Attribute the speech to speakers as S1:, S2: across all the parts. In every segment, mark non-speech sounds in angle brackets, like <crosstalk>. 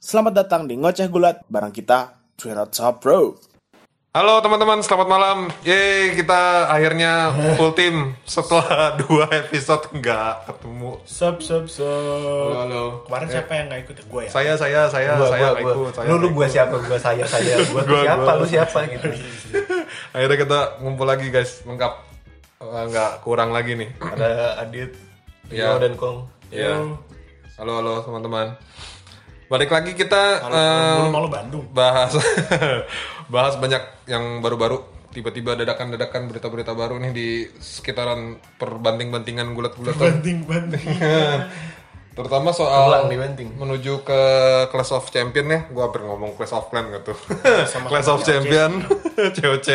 S1: Selamat datang di Ngoceh Gulat, barang kita Twirat Top Pro.
S2: Halo teman-teman, selamat malam. Yeay, kita akhirnya full team setelah <laughs> dua episode nggak ketemu.
S3: Sup, sup, sup.
S2: Halo.
S3: Kemarin siapa yang nggak ikut? Gue ya.
S2: Saya, saya, saya,
S4: gua,
S2: saya
S4: gua,
S2: nggak
S4: gua.
S2: ikut. Saya
S4: lu lu
S2: nggak
S4: gua
S2: ikut.
S4: siapa gua saya saya gua,
S2: Gua,
S4: siapa
S2: gua.
S4: lu siapa gitu
S2: Akhirnya kita ngumpul lagi guys, lengkap. Eh, Nggak kurang lagi nih.
S4: ada Adit
S2: Ya.
S4: Rio dan Kong
S2: Iya. Halo, halo teman-teman. Balik lagi kita eh,
S3: Malu Bandung.
S2: bahas <laughs> bahas banyak yang baru-baru tiba-tiba dadakan-dadakan berita-berita baru nih di sekitaran perbanting-bantingan gulat-gulatan
S3: Banding, banding.
S2: <laughs> terutama soal
S4: Ulang, dibanting.
S2: menuju ke Clash of Champion ya gue hampir ngomong Clash of Clan gitu <laughs> Clash of Champion COC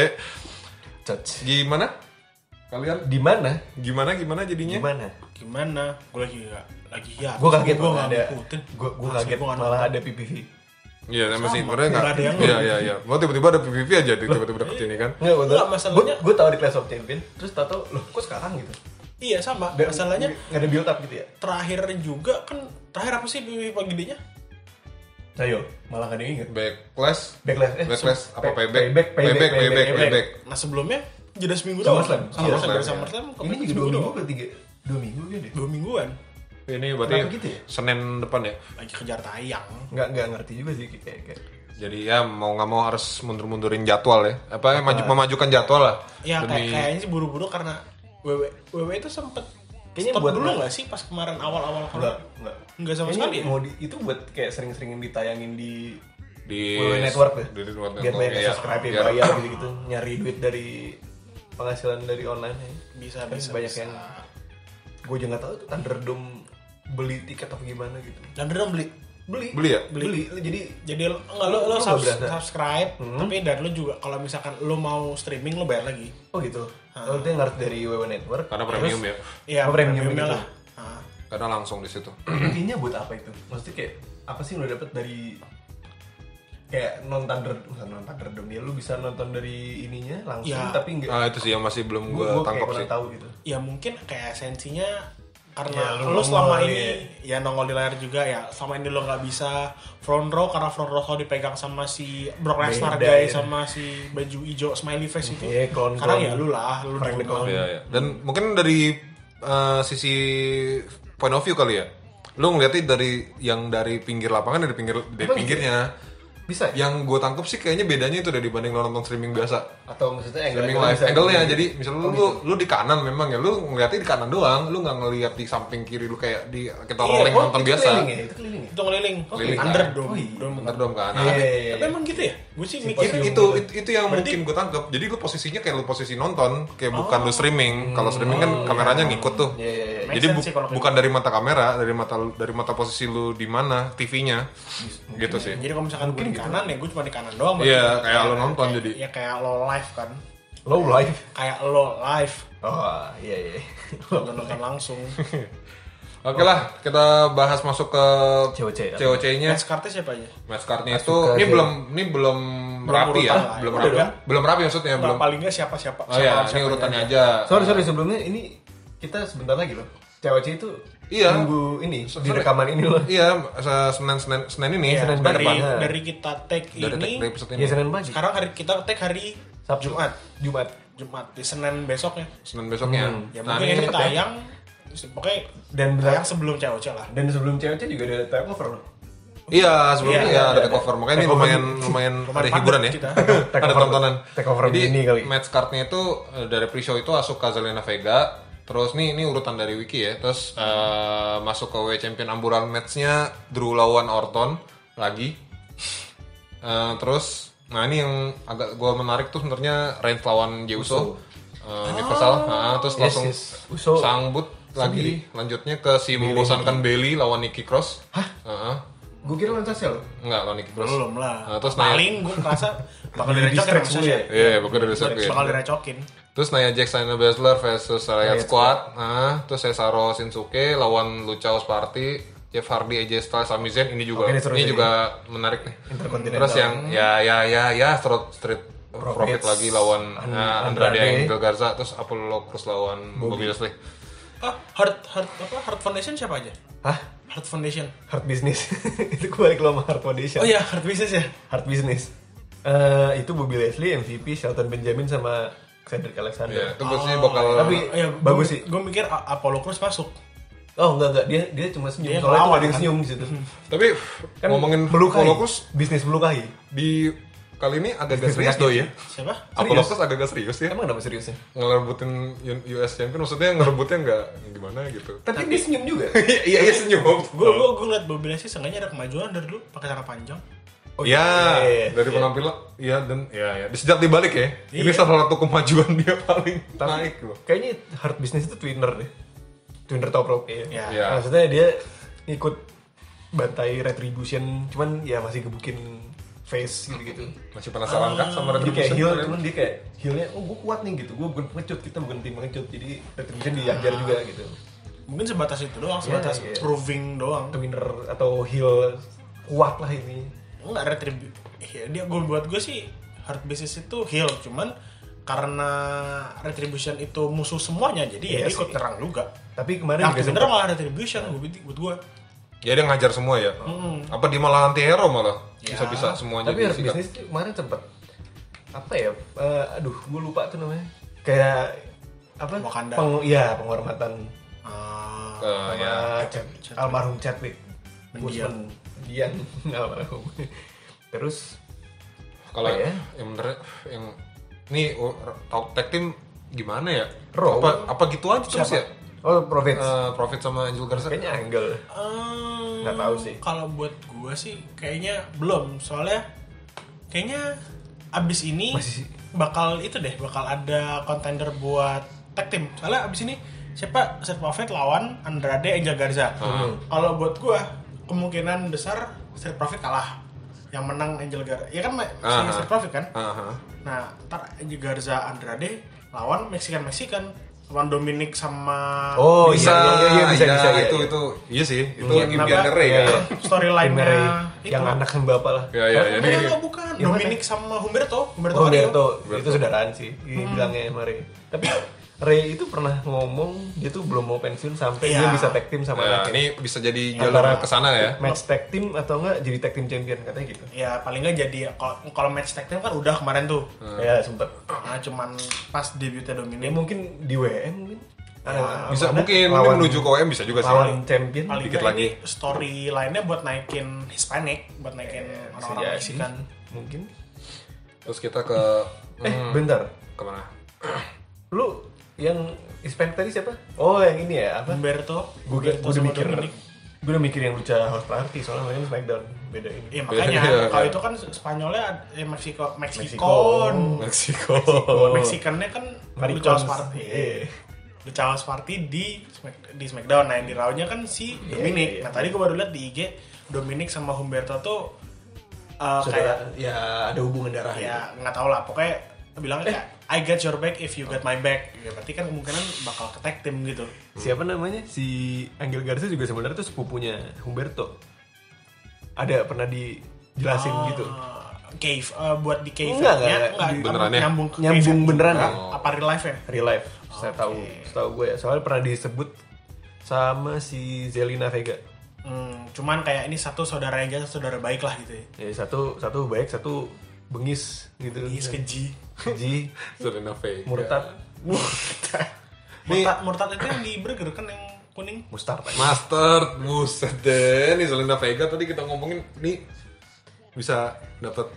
S4: Cot.
S2: gimana kalian
S4: di mana
S2: gimana gimana jadinya
S4: di mana
S3: Gimana? Gue lagi nggak lagi ya.
S4: gua kaget
S3: gue
S4: malah
S3: nggak
S4: ada
S3: ngikutin.
S4: gua, gua
S3: Asli,
S4: kaget
S3: gua kan. nggak
S4: malah
S3: nonton.
S4: ada PPV
S2: iya sama sih
S3: Sama,
S2: sebenarnya nggak
S3: nggak ada yang
S2: iya iya iya mau tiba-tiba ada PVP aja tiba-tiba deket sini kan
S4: Nggak, gua,
S3: Nggak,
S4: gua-
S3: masalahnya-
S4: gua, tahu di Clash of Champion terus tato loh kok sekarang gitu
S3: Iya sama.
S4: Dan-
S3: Masalahnya
S4: nggak ada build up gitu ya
S3: terakhir juga kan terakhir apa sih PBB gedenya?
S4: ayo Nah, malah nggak ada yang ingat
S2: backlash
S4: backlash eh
S2: backlash
S4: sem-
S2: apa
S4: pay-
S2: payback
S4: payback payback payback, payback.
S3: Nah sebelumnya jeda seminggu doang.
S4: SummerSlam.
S3: Sama
S2: SummerSlam,
S3: dari
S2: iya.
S3: SummerSlam. ke
S4: ini juga dua
S3: seminggu
S4: minggu kan?
S3: doang.
S4: ke tiga dua minggu ya deh
S3: Dua mingguan.
S2: ini berarti
S4: Kenapa gitu ya?
S2: Senin depan ya
S3: Lagi kejar tayang.
S4: nggak nggak ngerti juga sih kayak kayak
S2: jadi ya mau nggak mau harus mundur-mundurin jadwal ya apa ya, maju memajukan jadwal lah
S4: Iya,
S3: Ya kayak,
S2: Demi-
S3: kayaknya sih buru-buru karena WW WW itu sempet
S4: Kayaknya
S3: stop
S4: buat
S3: dulu
S4: nggak-
S3: nggak sih pas kemarin awal-awal
S4: nggak
S3: kalau
S4: nggak
S3: Nggak sama
S4: Kayaknya
S3: sekali ya?
S4: mau di, itu buat kayak sering-seringin ditayangin di
S2: di
S4: Wulu Network ya?
S2: di Wulu
S4: biar
S2: Network
S4: banyak
S2: ya,
S4: yang subscribe ya,
S2: biar-
S4: bayar gitu-gitu nyari duit dari penghasilan dari online ya.
S3: bisa
S4: Kan
S3: bisa
S4: banyak
S3: bisa.
S4: yang gue juga nggak tahu tuh Thunderdome beli tiket atau gimana gitu
S3: dan dia beli
S4: beli
S2: Beli ya?
S4: beli, jadi
S3: jadi lo- enggak lo, lo
S4: Lo
S3: subs-
S4: nggak berasa? Hmm.
S3: subscribe tapi dan lo juga kalau misalkan lo mau streaming lo bayar lagi
S4: oh gitu
S3: Ah.
S4: oh dia ngarep dari WW Network
S2: karena premium ya
S3: ya
S4: Oh, premium
S3: premiumnya
S4: gitu.
S3: lah Ah.
S2: karena langsung di situ
S4: intinya buat apa itu maksudnya kayak apa sih lo dapet dari kayak non Thunder bukan non Thunderdome ya lu bisa nonton dari ininya langsung
S3: Ya.
S4: tapi nggak
S2: ah itu sih yang masih belum
S4: gue
S2: gue
S4: kayak
S2: tangkap
S4: kurang
S2: sih
S4: tahu gitu
S3: ya mungkin kayak esensinya karena
S4: Ya, lo
S3: lo, selama
S4: nongol
S3: ini ya nongol di layar juga ya selama ini lo nggak bisa front row karena front row kalau dipegang sama si Brock Lesnar
S4: Beda,
S3: guys
S4: ya.
S3: sama si baju hijau smiley face itu
S4: Iya, klon-klon.
S3: sekarang ya lu lah lu
S4: Frank
S3: dukung.
S2: Iya, iya. dan mungkin dari eh, sisi point of view kali ya lu ngeliatnya dari yang dari pinggir lapangan dari pinggir dari
S4: Emang
S2: pinggirnya
S4: bisa ya?
S2: yang gue tangkap sih kayaknya bedanya itu dari dibanding lo nonton streaming biasa
S4: atau maksudnya angle
S2: streaming
S4: angle
S2: live
S4: Iya, bisa- Oh,
S2: angle ya jadi misalnya lu,
S4: gitu.
S2: lu lu di kanan memang ya lu ngeliatnya di kanan doang lu nggak ngeliat di samping kiri lu kayak di kita
S3: Iya,
S2: rolling
S4: Oh,
S2: nonton
S4: itu
S2: biasa
S4: keliling ya? itu keliling ya?
S3: itu ngeliling
S2: Keliling.
S3: underdome
S4: Oh, iya.
S3: Dome.
S2: bener dong kan
S4: Iya, iya, iya.
S3: tapi emang gitu ya gue sih
S2: Itu,
S3: mikir
S2: itu itu itu yang
S3: Berarti-
S2: mungkin gue tangkep jadi lu posisinya kayak lu posisi nonton kayak bukan lu streaming kalau streaming kan kameranya ngikut tuh
S4: Oh. Iya, iya, iya.
S3: Make
S2: jadi
S3: sense
S2: bu-
S3: sih kalau kayak gitu.
S2: bukan dari mata kamera dari mata dari mata posisi lu di mana TV-nya gitu sih
S3: ya. Jadi kalau misalkan gue di
S4: kan.
S3: kanan ya gue cuma di kanan doang. berarti.
S2: iya kayak lu nonton jadi
S3: Ya kayak lo live kan.
S4: low life
S3: Kayak lo live
S4: oh iya iya
S3: lo nonton
S2: <laughs>
S3: langsung.
S2: oke lah kita bahas masuk ke
S4: COC
S2: ya.
S4: apa?
S2: COC-nya
S3: Match cardnya siapa aja?
S2: match card-nya itu
S4: Asuka
S2: ini
S4: dia.
S2: belum ini belum rapi ya
S3: urutan lah.
S2: belum
S3: Udah
S2: rapi
S3: dong.
S2: belum rapi maksudnya
S3: Belum.
S2: belum
S3: Paling nggak siapa siapa.
S2: oh ya ini urutannya aja
S4: <laughs> sorry sorry sebelumnya ini kita sebentar lagi loh COC itu
S2: Iya.
S4: nunggu ini
S2: Sorry.
S4: di rekaman ini loh
S2: iya se- senin senin senin
S3: Iya,
S2: ini senin Iya, depan
S3: dari dari kita take
S2: dari
S3: ini.
S2: dari episode
S4: ya
S2: ini
S4: Senin pagi
S3: Sekarang hari kita take hari
S4: Sabtu.
S3: Jumat.
S4: Jumat
S3: Jumat di Senin besoknya.
S2: senin besoknya
S3: Ya
S2: nah
S3: mungkin ini
S2: ini
S3: tayang. Pokoknya
S4: dan
S3: tayang
S4: berat
S3: sebelum COC lah.
S4: dan sebelum COC juga ada takeover loh
S2: Iya, sebelumnya
S3: Iya,
S2: ya
S3: iya,
S2: ada cover. Makanya ini
S4: Takeover.
S2: lumayan lumayan ada
S3: Lumayan padat
S2: hiburan ya.
S3: kita.
S2: <laughs> ada
S4: Takeover-
S2: tontonan.
S4: takeover
S2: Jadi
S4: mini kali.
S2: match card-nya itu eh, dari pre-show itu Asuka Zelena Vega. Terus nih ini urutan dari wiki ya. Terus eh, masuk ke W Champion Amburan match-nya Drew lawan Orton lagi. Eh, terus nah ini yang agak gua menarik tuh sebenarnya Reigns lawan Jeuso. Universal. Nah, terus
S4: Ah. Yes,
S2: langsung
S4: yes. Uso
S2: sangbut lagi lanjutnya ke si membosankan Bailey lawan Nikki Cross. Hah?
S4: gue kira lancar sel
S2: Enggak lawan Nikki Cross.
S3: Belum lah.
S2: Nah, terus nanya-
S3: Paling gue
S4: <laughs>
S3: ngerasa bakal
S4: Di
S3: direcokin
S4: distract
S3: sama
S4: dulu ya.
S3: Sasha.
S2: Iya, bakal dari Seth ya.
S3: Bakal direcokin.
S2: Terus Nia Jax Shayna Baszler versus Riot
S4: Riot
S2: Squad. Nah, terus Cesaro Shinsuke lawan Luchaos Party, Jeff Hardy, AJ Styles, Sami Zayn ini juga
S4: Oke, ini seru
S2: ini
S4: sih.
S2: juga menarik nih.
S4: Intercontinental.
S2: Terus yang ya ya ya ya Street Street Profit,
S4: Profits.
S2: lagi lawan
S4: And-
S2: nah, Andrade,
S4: Andrade.
S2: Angel Garza, terus Apollo Crews lawan Bobby Lashley.
S3: Ah, Heart Heart apa Heart Foundation siapa aja?
S4: hah
S3: Heart Foundation.
S4: Hard business. <laughs> itu gue balik lo sama hard foundation.
S3: Oh iya, Heart Business ya.
S4: Hard business. Eh, itu Bobby Leslie, MVP, Shelton Benjamin sama Cedric
S2: Iya,
S4: Alexander.
S2: itu gue sih bakal
S4: Tapi
S3: Oh
S4: bagus sih.
S3: Gue iya, mikir A- Apollo Cruz masuk.
S4: Oh enggak enggak dia dia cuma senyum.
S3: Dia
S4: Soalnya
S3: ngelawan,
S4: tuh ada yang
S3: kan?
S4: senyum di situ.
S2: tapi
S4: Kan
S2: ngomongin
S4: bulu kahi.
S2: Holocaust
S4: bisnis bulu kahi.
S2: di kali ini agak-agak serius doi ya.
S3: Siapa?
S2: Apologos agak-agak serius ya.
S4: Emang kenapa seriusnya?
S2: Ngerebutin U- US Champion maksudnya ngerebutnya nggak gimana
S4: <laughs>
S2: gitu.
S4: Tapi, dia senyum juga.
S2: Iya, Iya iya senyum.
S3: Gue gue gue liat Bobby Lashley sengaja ada kemajuan dari dulu pakai tangan panjang.
S2: Oh, ya,
S4: iya, iya,
S2: dari
S4: iya.
S2: penampilan, iya dan ya ya. Sejak dibalik ya, ini salah satu kemajuan <laughs> dia paling
S3: Nah,
S2: naik loh.
S4: Kayaknya hard business itu twinner deh. Twinner top rope. Iya.
S3: Ya.
S2: Iya.
S4: Maksudnya dia ikut bantai retribution cuman ya masih gebukin face gitu-gitu.
S2: Masih penasaran kan sama
S4: Ah, Dia kayak
S2: Retribution?
S4: heal,
S2: kalian?
S4: cuman dia kayak healnya, oh gue kuat nih gitu, gue bukan pengecut, kita bukan tim pengecut, jadi retribution diajar
S2: Nah.
S4: juga gitu.
S3: Mungkin sebatas itu doang, sebatas
S4: iya.
S3: proving doang.
S4: Twinner atau heal kuat lah ini.
S3: Enggak retribute. Ya, dia gue buat gue sih Heart Business itu heal cuman karena retribution itu musuh semuanya jadi
S4: Iya
S3: ya dia ikut
S4: sih.
S3: nyerang juga.
S4: Tapi kemarin
S3: Yang
S4: juga
S3: bener
S4: sempet-
S3: Nah, malah retribution gue buat gue.
S2: Ya dia ngajar semua ya. Apa dia malah anti hero malah? Bisa-bisa semuanya
S4: Hmm.
S2: kan? Eh,
S4: Ya. tapi hard
S2: disikat.
S4: business tuh kemarin sempet apa ya eh, aduh gue lupa tuh namanya kayak apa
S3: Wakanda.
S4: Peng, iya penghormatan
S3: Ah,
S2: Ke-
S4: sama
S2: ya.
S4: Chad-
S3: Chadwick.
S4: almarhum Chadwick
S3: Mendiang.
S4: Boseman Dian almarhum terus
S2: Kalau
S4: Apa ya?
S2: yang bener yang nih oh, top tag team gimana ya?
S4: Raw.
S2: Apa apa gitu aja terus ya?
S4: oh Province
S2: Eh, Profit sama Angel Garza.
S4: kayaknya angle
S3: Ehm,
S4: Nggak tahu sih.
S3: Kalau buat gue sih kayaknya belum soalnya kayaknya abis ini
S4: Masih-
S3: bakal itu deh bakal ada contender buat tag team. Soalnya abis ini siapa Street Profit lawan Andrade Angel Garza.
S4: Hmm.
S3: Kalau buat gue kemungkinan besar Street Profit kalah. Yang menang Angel Garza. Ya kan masih
S2: Ah.
S3: Street Profit kan?
S2: Aha.
S3: Nah, ntar Angel Garza Andrade lawan Mexican Mexican lawan Dominic sama
S4: Oh,
S2: bisa,
S4: iya, iya, iya, bisa,
S2: ya,
S4: bisa, iya,
S2: itu
S4: iya.
S2: itu iya sih itu
S3: Iya,
S2: impian
S3: kenapa?
S2: Ray kan.
S3: storyline-nya
S4: Ray,
S3: itu.
S4: yang anak sama bapak lah
S2: Ya ya ya.
S3: Enggak,
S2: Ini
S3: enggak, bukan.
S4: Yang mana?
S3: Dominic sama Humberto. Humberto.
S4: Oh,
S3: Mario.
S4: Berto. itu saudaraan sih, ini bilangnya sama Ray. Tapi Ray itu pernah ngomong dia tuh belum mau pensiun sampai
S3: Iya.
S4: dia bisa tag team sama
S2: Nah,
S4: anaknya.
S2: ini bisa jadi
S4: Antara-
S2: jalur ke sana ya.
S4: match tag team atau enggak jadi tag team champion katanya gitu
S3: Ya paling nggak jadi kalau- kalau match tag team kan udah kemarin tuh.
S2: Hmm.
S4: ya sempet
S3: Nah, cuman pas debutnya
S4: ya
S3: Dominic
S4: mungkin di WM mungkin Ah,
S2: Bisa
S4: mana?
S2: mungkin ini
S4: Lawan-
S2: menuju ke OM bisa juga sih.
S4: lawan champion
S3: paling
S2: dikit
S3: nggak
S2: lagi.
S3: ini storyline-nya buat naikin Hispanic, buat naikin
S4: Bisa
S3: orang-orang
S4: jadi.
S3: Mexican.
S4: kan mungkin
S2: Terus kita ke hmm,
S4: eh bentar
S2: kemana?
S4: lu yang Hispanic tadi siapa oh yang ini ya apa
S3: Humberto,
S4: gue
S3: Humberto
S4: udah
S3: sama
S4: mikir
S3: Dominic.
S4: gue udah mikir yang Lucha House Party soalnya mereka Smackdown beda ini <laughs>
S3: Iya makanya
S2: Iya, iya.
S3: kalau itu kan Spanyolnya ad- eh, Meksiko Meksikon.
S4: Mexicon.
S2: Meksiko.
S3: Meksikannya kan
S4: Maricons.
S3: Lucha House Party.
S4: Iya.
S3: Lucha House Party di Smack- di Smackdown. Nah, yang di Raw-nya kan si Dominic.
S4: iya, iya.
S3: Nah, tadi gue baru lihat di IG Dominic sama Humberto tuh uh, kayak
S4: Saudara- ya ada hubungan darah gitu.
S3: ya nggak tau lah. Pokoknya bilangnya kayak I got your back if you got my back.
S4: Iya.
S3: Ya, berarti kan kemungkinan bakal ke tag team gitu.
S4: siapa namanya si Angel Garza juga sebenarnya tuh sepupunya Humberto ada pernah dijelasin gitu
S3: Uh, cave uh, buat di cave
S4: Enggak, enggak, enggak.
S3: enggak,
S2: Beneran ya?
S3: nyambung ke
S4: Nyambung
S3: cave-nya.
S4: beneran ya?
S3: Apa- apa real life ya
S4: real life saya tahu tahu gue ya soalnya pernah disebut sama si Zelina Vega
S3: hmm, cuman kayak ini satu saudara yang jatuh saudara baik lah gitu ya
S4: ya satu satu baik satu bengis gitu
S3: Is keji
S4: keji
S2: Serena Vega. <laughs>
S4: murtad
S3: Murtad, murtad itu yang di burger kan yang kuning.
S4: mustard
S2: Master, buset deh. Nih Selena Vega tadi kita ngomongin nih bisa dapat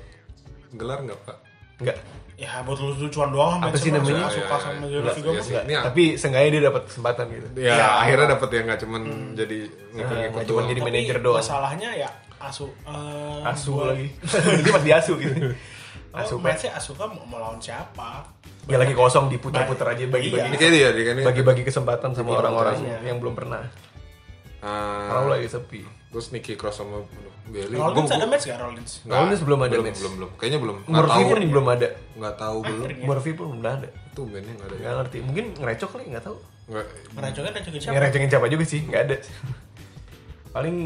S2: gelar nggak pak?
S4: enggak
S3: Ya buat lucu-lucuan doang.
S4: Apa
S3: Matt
S4: sih
S3: Sherman
S4: namanya?
S2: Ya, ya,
S3: suka- Suka sama
S2: ya.
S3: Zero Figo.
S2: Iya sih.
S4: enggak
S2: Ini-
S4: tapi seenggaknya dia dapat kesempatan gitu
S2: Ya,
S3: Ya.
S2: akhirnya dapat ya nggak cuman jadi Iya, ngikut-ngikut
S4: Hmm. nggak cuman
S2: doang.
S4: jadi-
S3: Tapi
S4: manajer doang.
S3: Masalahnya ya asu. eh,
S4: asu
S3: buat-
S4: lagi <laughs> dia pas diasu gitu
S3: Oh,
S4: asu kan
S3: matchnya Asuka mau, mau lawan siapa?
S4: ya lagi kosong diputer-puter aja
S2: Ini
S4: bagi-bagi
S2: kayak dia, dia kayaknya.
S4: bagi-bagi kesempatan sama orang-orang
S3: makanya.
S4: yang belum pernah
S2: Ah,
S4: kalau lagi sepi
S2: terus Nikki Cross sama Bailey.
S3: Rollins ada match gak Rollins?
S4: Rollins belum ada
S2: belum,
S4: match.
S2: belum, belum. Kayaknya belum. Nggak
S4: Murphy
S2: tahu.
S4: pun belum ada
S2: Nggak tahu belum.
S4: Murphy pun belum ada
S2: Tuh bandnya nggak ada. ya.
S4: nggak ngerti mungkin ngerecok kali nggak tahu
S2: Nggak.
S3: Meracungnya dan juga siapa?
S4: ngerecengin siapa juga sih nggak ada paling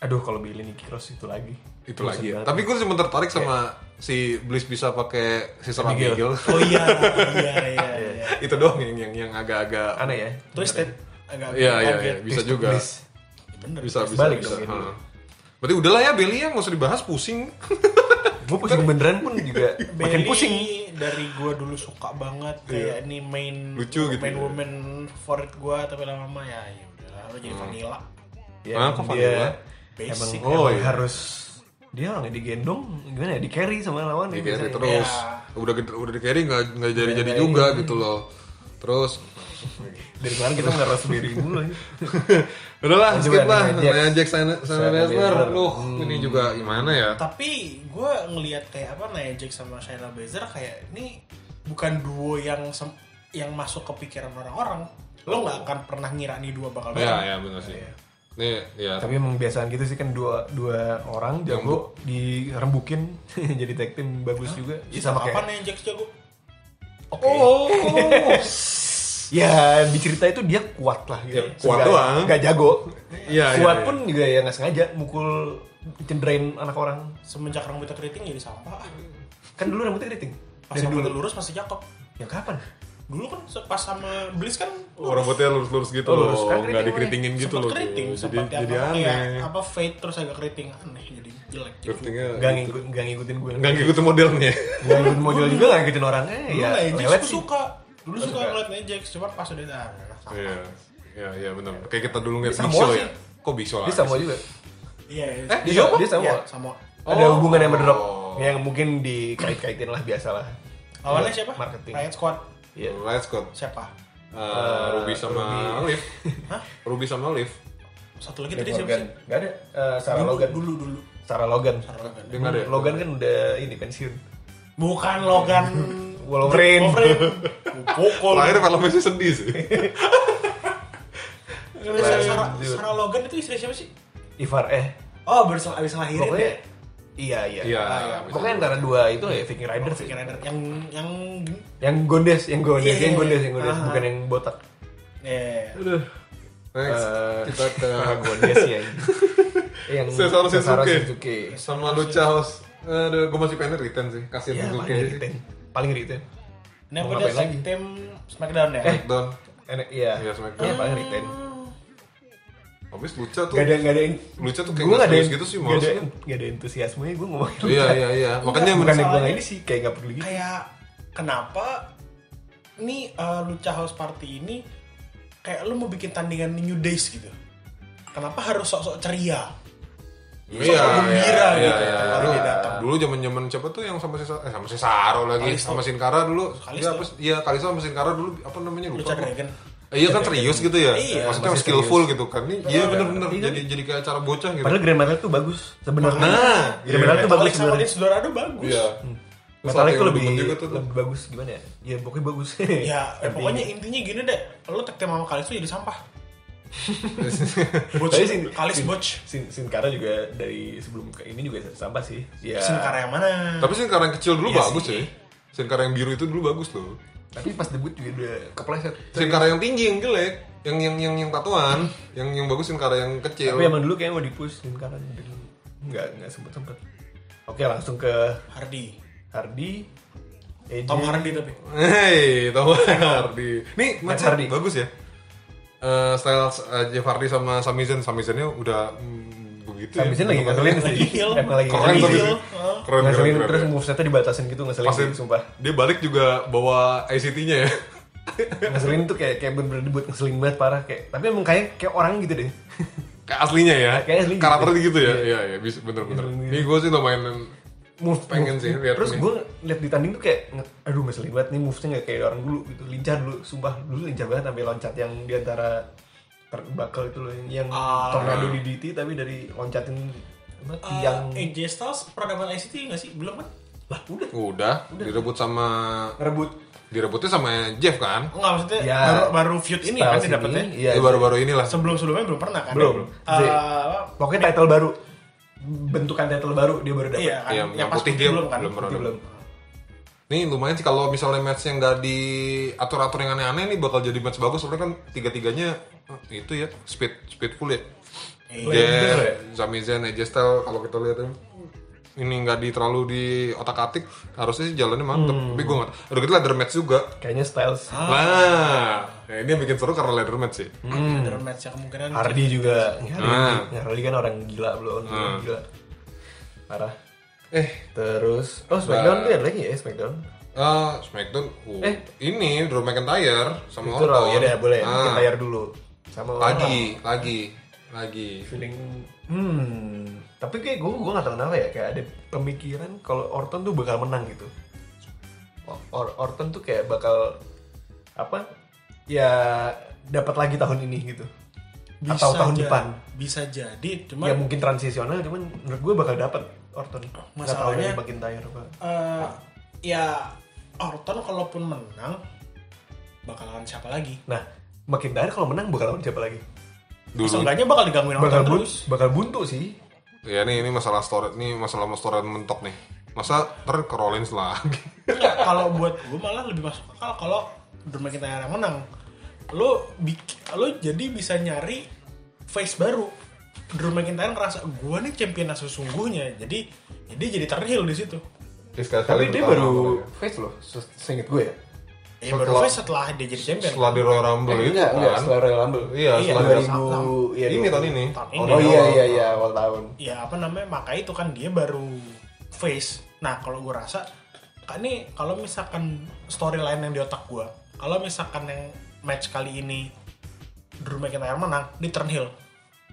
S4: aduh kalau Billy Nicky Cross itu lagi
S2: Itu lagi. Ya. Tapi gue cuma
S4: Iya.
S2: tertarik sama si Bliss bisa pakai Sister
S4: Abigail.
S2: Abigail. <laughs>
S3: Oh iya, iya, iya, iya.
S2: itu doang yang yang yang agak-agak
S4: aneh ya
S3: Twisted. Agak
S2: Iya, iya,
S3: kaget.
S2: iya, bisa juga.
S4: Bliss.
S3: Bener.
S2: Bisa bisa
S4: Balik
S2: bisa.
S4: dong gitu. ini.
S2: Ha. Berarti udahlah ya Belly ya nggak usah dibahas pusing.
S4: Gue pusing beneran pun
S3: <laughs>
S4: juga makin
S3: Belly
S4: pusing. Iya.
S3: dari gua dulu suka banget kayak ini main
S2: Lucu gitu
S3: main
S2: ya.
S3: woman favorit gua tapi lama-lama ya ya udah lu jadi vanilla.
S4: Ya,
S2: Ah,
S4: emang
S2: kok Vanilla?
S4: dia Hmm. emang,
S3: Basic.
S2: Oh,
S4: emang
S2: iya.
S4: harus dia orangnya digendong gimana ya di carry sama lawan
S2: Di carry
S4: terus
S2: terus.
S3: Ya.
S2: Udah gede- udah di carry nggak nggak jadi jadi juga gitu loh. Terus
S4: dari kemarin kita ngeras sendiri
S2: <laughs>
S4: mulu ya.
S2: udahlah
S4: Lanjut ya,
S2: skip
S4: lah,
S2: lah.
S4: Nia Jax.
S2: Nia Jax Sana Sana
S4: Shayna Baszler.
S2: Baszler.
S4: Hmm.
S2: Loh, ini juga gimana ya?
S3: Tapi gua ngelihat kayak apa Nia Jax sama Shayna Baszler kayak ini bukan duo yang sem- yang masuk ke pikiran orang-orang. Lo nggak akan pernah ngira nih dua bakal
S2: Ya
S3: bareng.
S2: ya benar sih. Nih ya.
S4: Iya. tapi emang biasaan gitu sih kan dua dua orang jago dirembukin <laughs> jadi tag team bagus juga
S2: iya.
S3: Ih,
S4: sama
S3: apa
S4: kayak
S3: Nia Jax jago?
S2: Oh.
S4: ya di cerita itu dia kuat lah gitu
S2: Ya, kuat
S4: Nggak-
S2: doang.
S4: nggak jago
S2: Iya, iya,
S4: kuat
S2: iya.
S4: pun juga ya nggak sengaja mukul cenderain anak orang
S3: Semenjak rambutnya keriting jadi sampah. ah.
S4: kan dulu rambutnya keriting
S3: Pas
S4: dari
S3: rambutnya
S4: dulu
S3: lurus masih cakep.
S4: ya kapan
S3: Dulu kan se- pas sama Bliss kan
S2: Oh, rambutnya lurus-lurus gitu
S4: Oh, lurus.
S2: loh,
S4: Kan
S2: nggak
S4: keriting
S2: dikeritingin gitu
S3: sempat
S2: loh. dia.
S3: keriting,
S2: Jadi
S3: sempat
S2: jadi
S3: apa,
S2: aneh. Iya,
S3: ya, apa gitu. fade terus agak keriting aneh jadi jelek. Jadi
S2: Keritingnya
S4: nggak ngikut nggak ngikutin gue
S2: gitu. nggak ngikutin
S3: <laughs>
S2: modelnya.
S4: nggak ngikutin model juga nggak ngikutin orangnya
S3: Dulu
S4: ya
S3: Nia Jax
S4: lelet
S3: gua
S4: sih
S3: suka. Dulu suka
S2: suka.
S3: ngeliat Nia Jax, cuman pas udah ah, udah, sama.
S2: Iya. Iya, iya benar. Kayak kita dulu ngeliat
S4: Bisa
S2: Big Show
S4: Samoa
S2: ya.
S4: sih.
S2: Kok Big Show
S4: dia
S2: lagi
S4: sama
S2: sih?
S4: juga
S3: Iya, iya.
S2: Eh,
S4: dia
S2: Iya,
S4: sama
S2: apa?
S4: dia sama
S3: Iya, sama.
S4: ada
S2: Oh.
S4: hubungan yang drop yang mungkin dikait-kaitin lah biasalah
S3: Awalnya siapa?
S4: marketing
S3: Riot Squad.
S4: Iya.
S2: Riot Squad.
S3: Siapa?
S2: Eh, Ruby sama
S4: Ruby.
S2: Liv. Hah? Ruby sama Liv.
S3: Satu lagi tadi
S4: Dave
S3: siapa
S4: Morgan.
S3: sih?
S4: Gak ada. Eh, Sarah
S3: Dulu,
S4: Logan.
S3: dulu, dulu.
S4: Sarah Logan.
S2: Dia nggak ada. ya?
S4: Logan kan udah ini pensiun.
S3: Bukan Logan.
S4: <laughs> Wolverine.
S3: Wolverine. Pukul.
S2: Lahir filmnya sih sedih
S4: <laughs>
S2: sih.
S3: Sarah, Sarah- Sarah Logan itu istri siapa sih?
S4: Ivar eh
S3: Oh, baru sel- abis ngelahirin
S4: pokoknya
S3: ya?
S4: iya iya.
S2: Iya,
S4: Ah,
S2: iya, bisa
S4: Pokoknya
S2: juga.
S4: antara dua itu ya Viking Rider sih.
S3: Viking Rider. Yang, yang...
S4: Yang gondes, yang gondes,
S3: Iya,
S4: yang
S3: iya,
S4: gondes,
S3: iya.
S4: yang gondes,
S3: Ah.
S4: bukan yang botak.
S3: Eh,
S2: Aduh. Next.
S4: Eh,
S2: Kita
S4: <laughs>
S2: ke
S4: Ah, gondes ya.
S2: <laughs>
S4: yang
S2: Cesaro Shinsuke.
S4: Shinsuke.
S2: sama Lucha House. Aduh, gue masih pengen return sih. Kasian
S4: Ya,
S2: Suzuki
S4: paling
S2: sih.
S4: retain. Paling retain.
S3: ini apa
S4: Mau ngapain
S3: dia tag
S4: lagi? Eh.
S3: team Smackdown ya?
S2: Smackdown.
S4: Enak iya.
S2: Iya, Smackdown.
S4: Iya, paling retain.
S2: Habis Lucha tuh.
S4: Gak ada gak ada yang
S2: Lucha tuh kayak
S4: Gua
S2: nggak
S4: nggak ada
S2: serius gitu sih,
S4: nggak ada
S2: maksudnya.
S4: nggak ada entusiasmenya gue ngomongin
S2: Iya,
S4: <laughs> Lucha.
S2: iya, iya. Makanya
S4: bukan yang gue
S3: masalahnya-
S4: ini sih kayak nggak peduli gitu
S3: kayak kenapa nih uh, Lucha House Party ini kayak lu mau bikin tandingan New Days gitu. Kenapa harus sok-sok ceria?
S2: Iya,
S3: gembira
S2: iya,
S3: gitu,
S2: iya, iya.
S3: baru
S2: Dulu-
S3: dia datang.
S2: Dulu zaman-zaman siapa tuh yang sama Cesaro, eh sama Cesaro lagi,
S3: Kalisto.
S2: sama Sin Cara dulu.
S3: Kalisto.
S2: Iya, apa sih? Iya, Kalisto sama Sin Cara dulu apa namanya lupa.
S3: Lucha
S2: gua.
S3: Dragon.
S2: Eh, Iya kan serius gitu ya.
S3: Iya,
S2: Maksudnya
S4: masih
S2: skillful
S4: serius.
S2: gitu kan. Ini iya benar-benar
S4: Iya.
S2: jadi jadi kayak acara bocah gitu.
S4: padahal Grand Metal tuh bagus sebenarnya
S2: Nah,
S4: Grand
S2: iya.
S4: Metal tuh bagus
S3: Alex sama
S4: sebenarnya
S3: Vince Dorado bagus.
S2: Iya. Terus
S4: Metal
S2: latihan
S4: itu Hmm. lebih
S2: ribet juga tuh.
S4: lebih bagus gimana ya ya pokoknya bagus <laughs>
S3: Ya, eh,
S4: Tapi-
S3: pokoknya intinya gini deh. Lu tag team sama Kalis tuh jadi
S4: <laughs>
S3: sampah. Botch,
S4: Tapi Sin-
S3: Kalis
S4: Sin-
S3: botch.
S4: Sin, Sin Cara juga dari sebelum ke- ini juga sampah sih ya
S3: Sin Cara yang mana?
S2: Tapi Sin Cara yang kecil dulu
S4: Iya
S2: bagus ya.
S4: sih.
S2: Sin Cara yang biru itu dulu bagus loh.
S4: tapi pas debut juga udah kepleset
S2: Sin Cara yang tinggi yang jelek, yang yang yang yang tatuan, yang yang bagus Sin Cara yang kecil.
S4: tapi emang dulu kayaknya mau dipush Sin Cara dulu nggak nggak sempet sempet oke langsung ke E
S3: Hardy.
S4: Hardy AJ,
S3: Tom Hardy tapi.
S2: Hei, Tom Hardy. Nih,
S4: Matt
S2: Matt
S4: Hardy.
S2: Hardy. Bagus ya. Eh style uh, Jeff Hardy sama Sami Zayn. Sami Zayn-nya udah mm, begitu
S4: Abis ini lagi
S2: Bukan-
S4: ngeselin sih.
S3: Lagi heal.
S4: Emang lagi
S2: <laughs> Keren
S3: Lagi
S2: Sami
S4: ngeselin.
S2: Zayn.
S3: heal. Heeh.
S2: Keren, keren,
S4: Ngeselin
S2: keren.
S4: terus movesetnya dibatasin gitu ngeselin
S2: Pas
S4: sih, sumpah.
S2: Dia balik juga bawa ICT-nya ya. <laughs>
S4: Ngeselin tuh kayak kayak bener-bener dibuat ngeselin banget parah kayak. Tapi emang kayak kayak orang gitu deh.
S2: Kayak aslinya ya.
S4: Kayak asli gitu.
S2: Karakternya gitu ya.
S4: Iya.
S2: Iya, iya, bisa bener-bener.
S4: Bener, bener.
S2: Ini gue sih lumayan
S4: Move
S2: Pengen sih lihat nih.
S4: Terus gue lihat di tanding tuh kayak nge- aduh ngeselin banget nih move-nya nggak kayak orang dulu gitu. Lincah dulu, sumpah dulu lincah banget sampai loncat yang di antara ter- bakal itu loh yang, yang
S3: Ah.
S4: tornado di DT tapi dari loncatin apa,
S3: Eh,
S4: tiang
S3: AJ Styles pernah dapat ICT nggak sih? Belum kan?
S4: lah udah
S2: udah, direbut sama
S4: ngerebut
S2: direbutnya sama Jeff kan.
S3: Enggak maksudnya
S4: Ya.
S3: baru, baru feud ini
S4: Styles
S3: kan
S4: ini,
S3: didapatnya.
S4: iya,
S2: Eh, baru-baru inilah.
S3: Sebelum-sebelumnya belum pernah kan?
S4: Belum.
S3: Eh,
S4: Jadi- pokoknya title baru bentukan title baru dia baru dapat
S3: iya kan?
S2: Iya,
S3: yang
S2: yang
S3: pas
S2: putih
S3: putih
S2: dia
S3: belum kan?
S2: belum pernah.
S4: belum
S2: Nih lumayan sih kalau misalnya match yang nggak diatur-atur yang aneh-aneh nih bakal jadi match bagus. Sebenarnya kan tiga-tiganya eh, itu ya speed speed full ya.
S3: Iya.
S2: Jeff, Sami Zayn, AJ Styles kalau kita lihat ya. ini nggak di terlalu di otak atik harusnya sih jalannya mantep
S3: Hmm.
S2: tapi gue nggak udah gitu ladder match juga
S4: Kayaknya
S2: Ah,
S4: Styles
S3: Ah.
S2: nah ya ini yang bikin seru karena ladder match sih
S3: Under match ya kemungkinan
S4: Hmm. Hardy juga ya, Hardy,
S2: Hmm.
S4: ya, Hardy kan orang gila belum orang gila parah
S2: eh
S4: terus oh Smackdown tuh ada lagi ya Smackdown
S2: eh, Smackdown uh,
S4: Eh.
S2: ini Drew McIntyre sama
S4: itu
S2: Orton
S4: Raw ya deh boleh
S2: Ah,
S4: kita layar dulu sama
S2: lagi lagi lagi
S4: feeling hmm tapi kayak gue gue nggak tahu kenapa ya kayak ada pemikiran kalau Orton tuh bakal menang gitu Or- Or- Orton tuh kayak bakal apa ya dapat lagi tahun ini gitu atau tahun
S3: ja-
S4: depan
S3: Bisa jadi, cuma
S4: ya mungkin transisional cuman menurut gue bakal dapat Orton nggak tahu
S3: Masalahnya-
S4: dari McIntyre apa
S3: eh, ya Orton kalaupun menang bakal lawan siapa lagi?
S4: nah McIntyre kalau menang bakal lawan siapa lagi
S2: dulu
S3: Seenggaknya bakal digangguin
S4: bakal
S3: Orton
S4: buntu,
S3: terus.
S4: bakal buntu sih
S2: ya ini ini masalah story ini masalah story mentok nih masa ter ke Rollins
S4: <laughs>
S2: lagi
S3: Enggak, kalau buat gue malah lebih masuk akal kalau Drew McIntyre yang menang. Lo bik- lo jadi bisa nyari face baru. Drew McIntyre ngerasa gue nih champion sesungguhnya. Jadi ya dia jadi terhil di situ.
S4: tapi dia baru face loh se- seinget gue ya
S3: Ya
S2: Setelah-
S3: baru face setelah dia jadi champion.
S2: setelah di Royal Rumble
S4: Eh,
S2: itu
S4: enggak, enggak,
S2: kan.
S4: setelah Royal Rumble.
S2: Iya,
S3: Iya,
S2: setelah di-
S4: 2000 iya,
S2: ini
S4: iya.
S2: tahun ini.
S3: Tahun
S2: Tahun
S3: ini.
S4: Oh
S2: ini
S4: iya
S2: awal.
S4: iya iya awal tahun.
S3: ya apa namanya maka itu kan dia baru face nah kalau gue rasa kan ini kalau misalkan storyline yang di otak gue kalau misalkan yang match kali ini Drew McIntyre menang di turn heel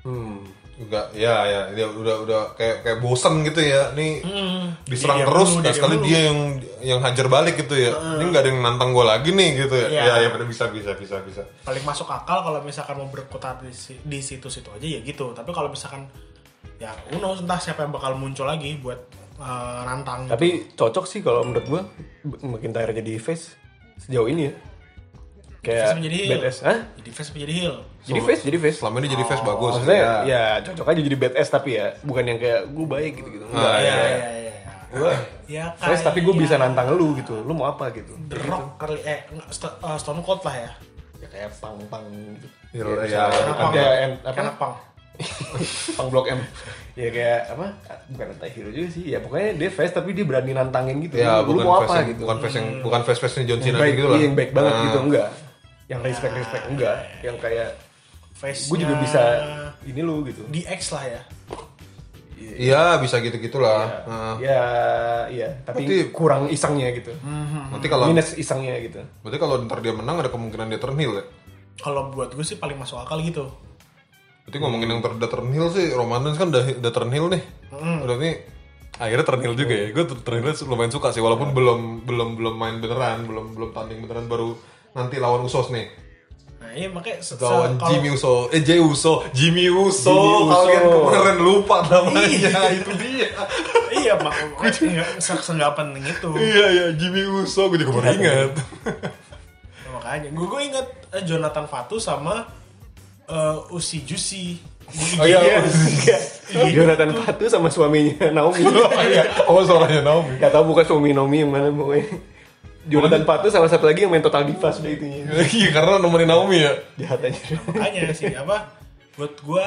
S2: Hmm. Enggak, ya ya dia udah udah kayak kayak bosan gitu ya. Nih
S3: Hmm,
S2: diserang
S3: dia
S2: terus
S3: mulu,
S2: dan sekali
S3: mulu.
S2: dia yang yang hajar balik gitu ya.
S4: Hmm.
S2: Ini enggak ada yang nantang gue lagi nih gitu ya.
S3: Iya.
S2: Ya ya pada bisa bisa bisa bisa.
S3: paling masuk akal kalau misalkan mau berkutat di, si- di situ-situ aja ya gitu tapi kalau misalkan ya uno entah siapa yang bakal muncul lagi buat eh, nantang
S4: Tapi cocok sih kalau menurut gua McIntyre jadi face sejauh ini ya. Kayak
S3: Face menjadi heel.
S4: badass, Hah?
S3: jadi face apa jadi heel
S4: Jadi face, jadi face.
S2: Selama ini jadi face bagus.
S4: Oh,
S2: Iya.
S4: Maksudnya ya cocok aja jadi badass tapi ya bukan yang kayak gue baik gitu-gitu. Enggak.
S2: Ah,
S3: ya
S2: iya.
S3: ya ya, ya.
S4: Gua
S3: ya
S2: Nah.
S4: face tapi gue
S3: kayak-
S4: bisa nantang lu gitu. Lu mau apa gitu?
S3: The Rock kali eh enggak, Sto- eh, Stone Cold lah ya.
S4: Ya kayak pang-pang gitu.
S2: Iya,
S4: Kayak
S2: iya.
S4: misalnya
S3: Kenapa?
S4: Ada en- apa?
S3: Karena Pang.
S4: Pang Blok M. <laughs> ya kayak apa? Bukan anti-hero juga sih. Ya pokoknya dia face tapi dia berani nantangin gitu.
S2: Ya,
S4: lu,
S2: bukan
S4: lu mau
S2: face
S4: apa
S2: yang,
S4: gitu?
S2: bukan face yang bukan face face John
S4: yang
S2: Cena
S4: baik,
S2: gitu lah.
S4: yang baik banget
S2: Ah.
S4: gitu enggak yang respect respect enggak yang kayak
S3: Face.
S4: gue juga bisa ini lu gitu
S3: DX lah ya.
S2: Iya, bisa gitu-gitulah. Ah.
S4: ya iya tapi
S2: Berarti- Hmm.
S4: kurang isengnya gitu
S2: Nanti kalau
S4: minus isengnya gitu
S2: berarti kalau ntar dia menang ada kemungkinan dia turn heel ya.
S3: Kalau buat gue sih paling masuk akal gitu.
S2: Berarti ngomongin yang ter udah turn heel sih, Roman Reigns kan udah, udah turn heel nih. Udah nih akhirnya turn heel juga ya. Gue turn heel lumayan suka sih walaupun belum belum belum main beneran, belum belum tanding beneran baru nanti lawan Usos nih.
S3: Nah, iya makanya se- se-
S2: Lawan
S3: kalau-
S2: Jimmy Uso, eh Jay Uso, Jimmy Uso.
S4: Jimmy Uso.
S2: Kalian kemarin lupa namanya.
S4: <laughs>
S3: Iya.
S2: itu dia.
S3: Iya, mak gue enggak gitu. penting itu.
S2: iya iya Jimmy Uso, gue juga baru ingat.
S3: Ya, makanya gue gue inget eh, Jonathan Fatu sama eh, Usi Juicy.
S4: oh iya iya. <laughs> Jonathan Fatu sama suaminya <laughs> Naomi iya.
S2: oh suaranya Naomi.
S4: Gak tau bukan suami Naomi yang mana pokoknya Jonathan Fatu sama satu lagi yang main Total Divas udah itunya
S2: Iya karena nemenin Naomi ya.
S4: jahat aja
S3: Makanya sih apa buat gue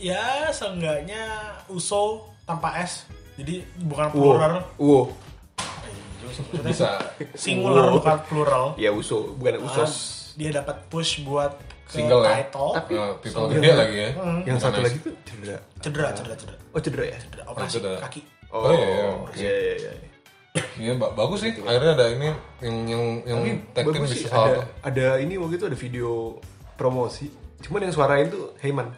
S3: ya seenggaknya Uso tanpa S. Jadi
S4: wow
S3: bukan plural.
S4: wow
S2: Bisa.
S3: Singular
S4: Wow.
S3: bukan plural.
S4: ya Uso bukan Usos
S3: dia dapat push buat ke
S2: Single ya.
S3: title
S4: Tapi-
S2: Eh, people gede lagi ya.
S4: Ah. yang satu
S2: Nice.
S4: lagi tuh cedera
S3: cedera cedera cedera
S4: oh cedera ya
S3: cedera operasi
S2: Cedera.
S3: kaki
S2: Oh, iya, iya.
S4: iya iya iya
S2: Iya ba- bagus sih. Akhirnya ada ini yang yang yang tag team
S4: bagus
S2: bisa
S4: sih
S2: salto.
S4: ada, ada ini waktu itu ada video promosi cuman yang suarain tuh Heyman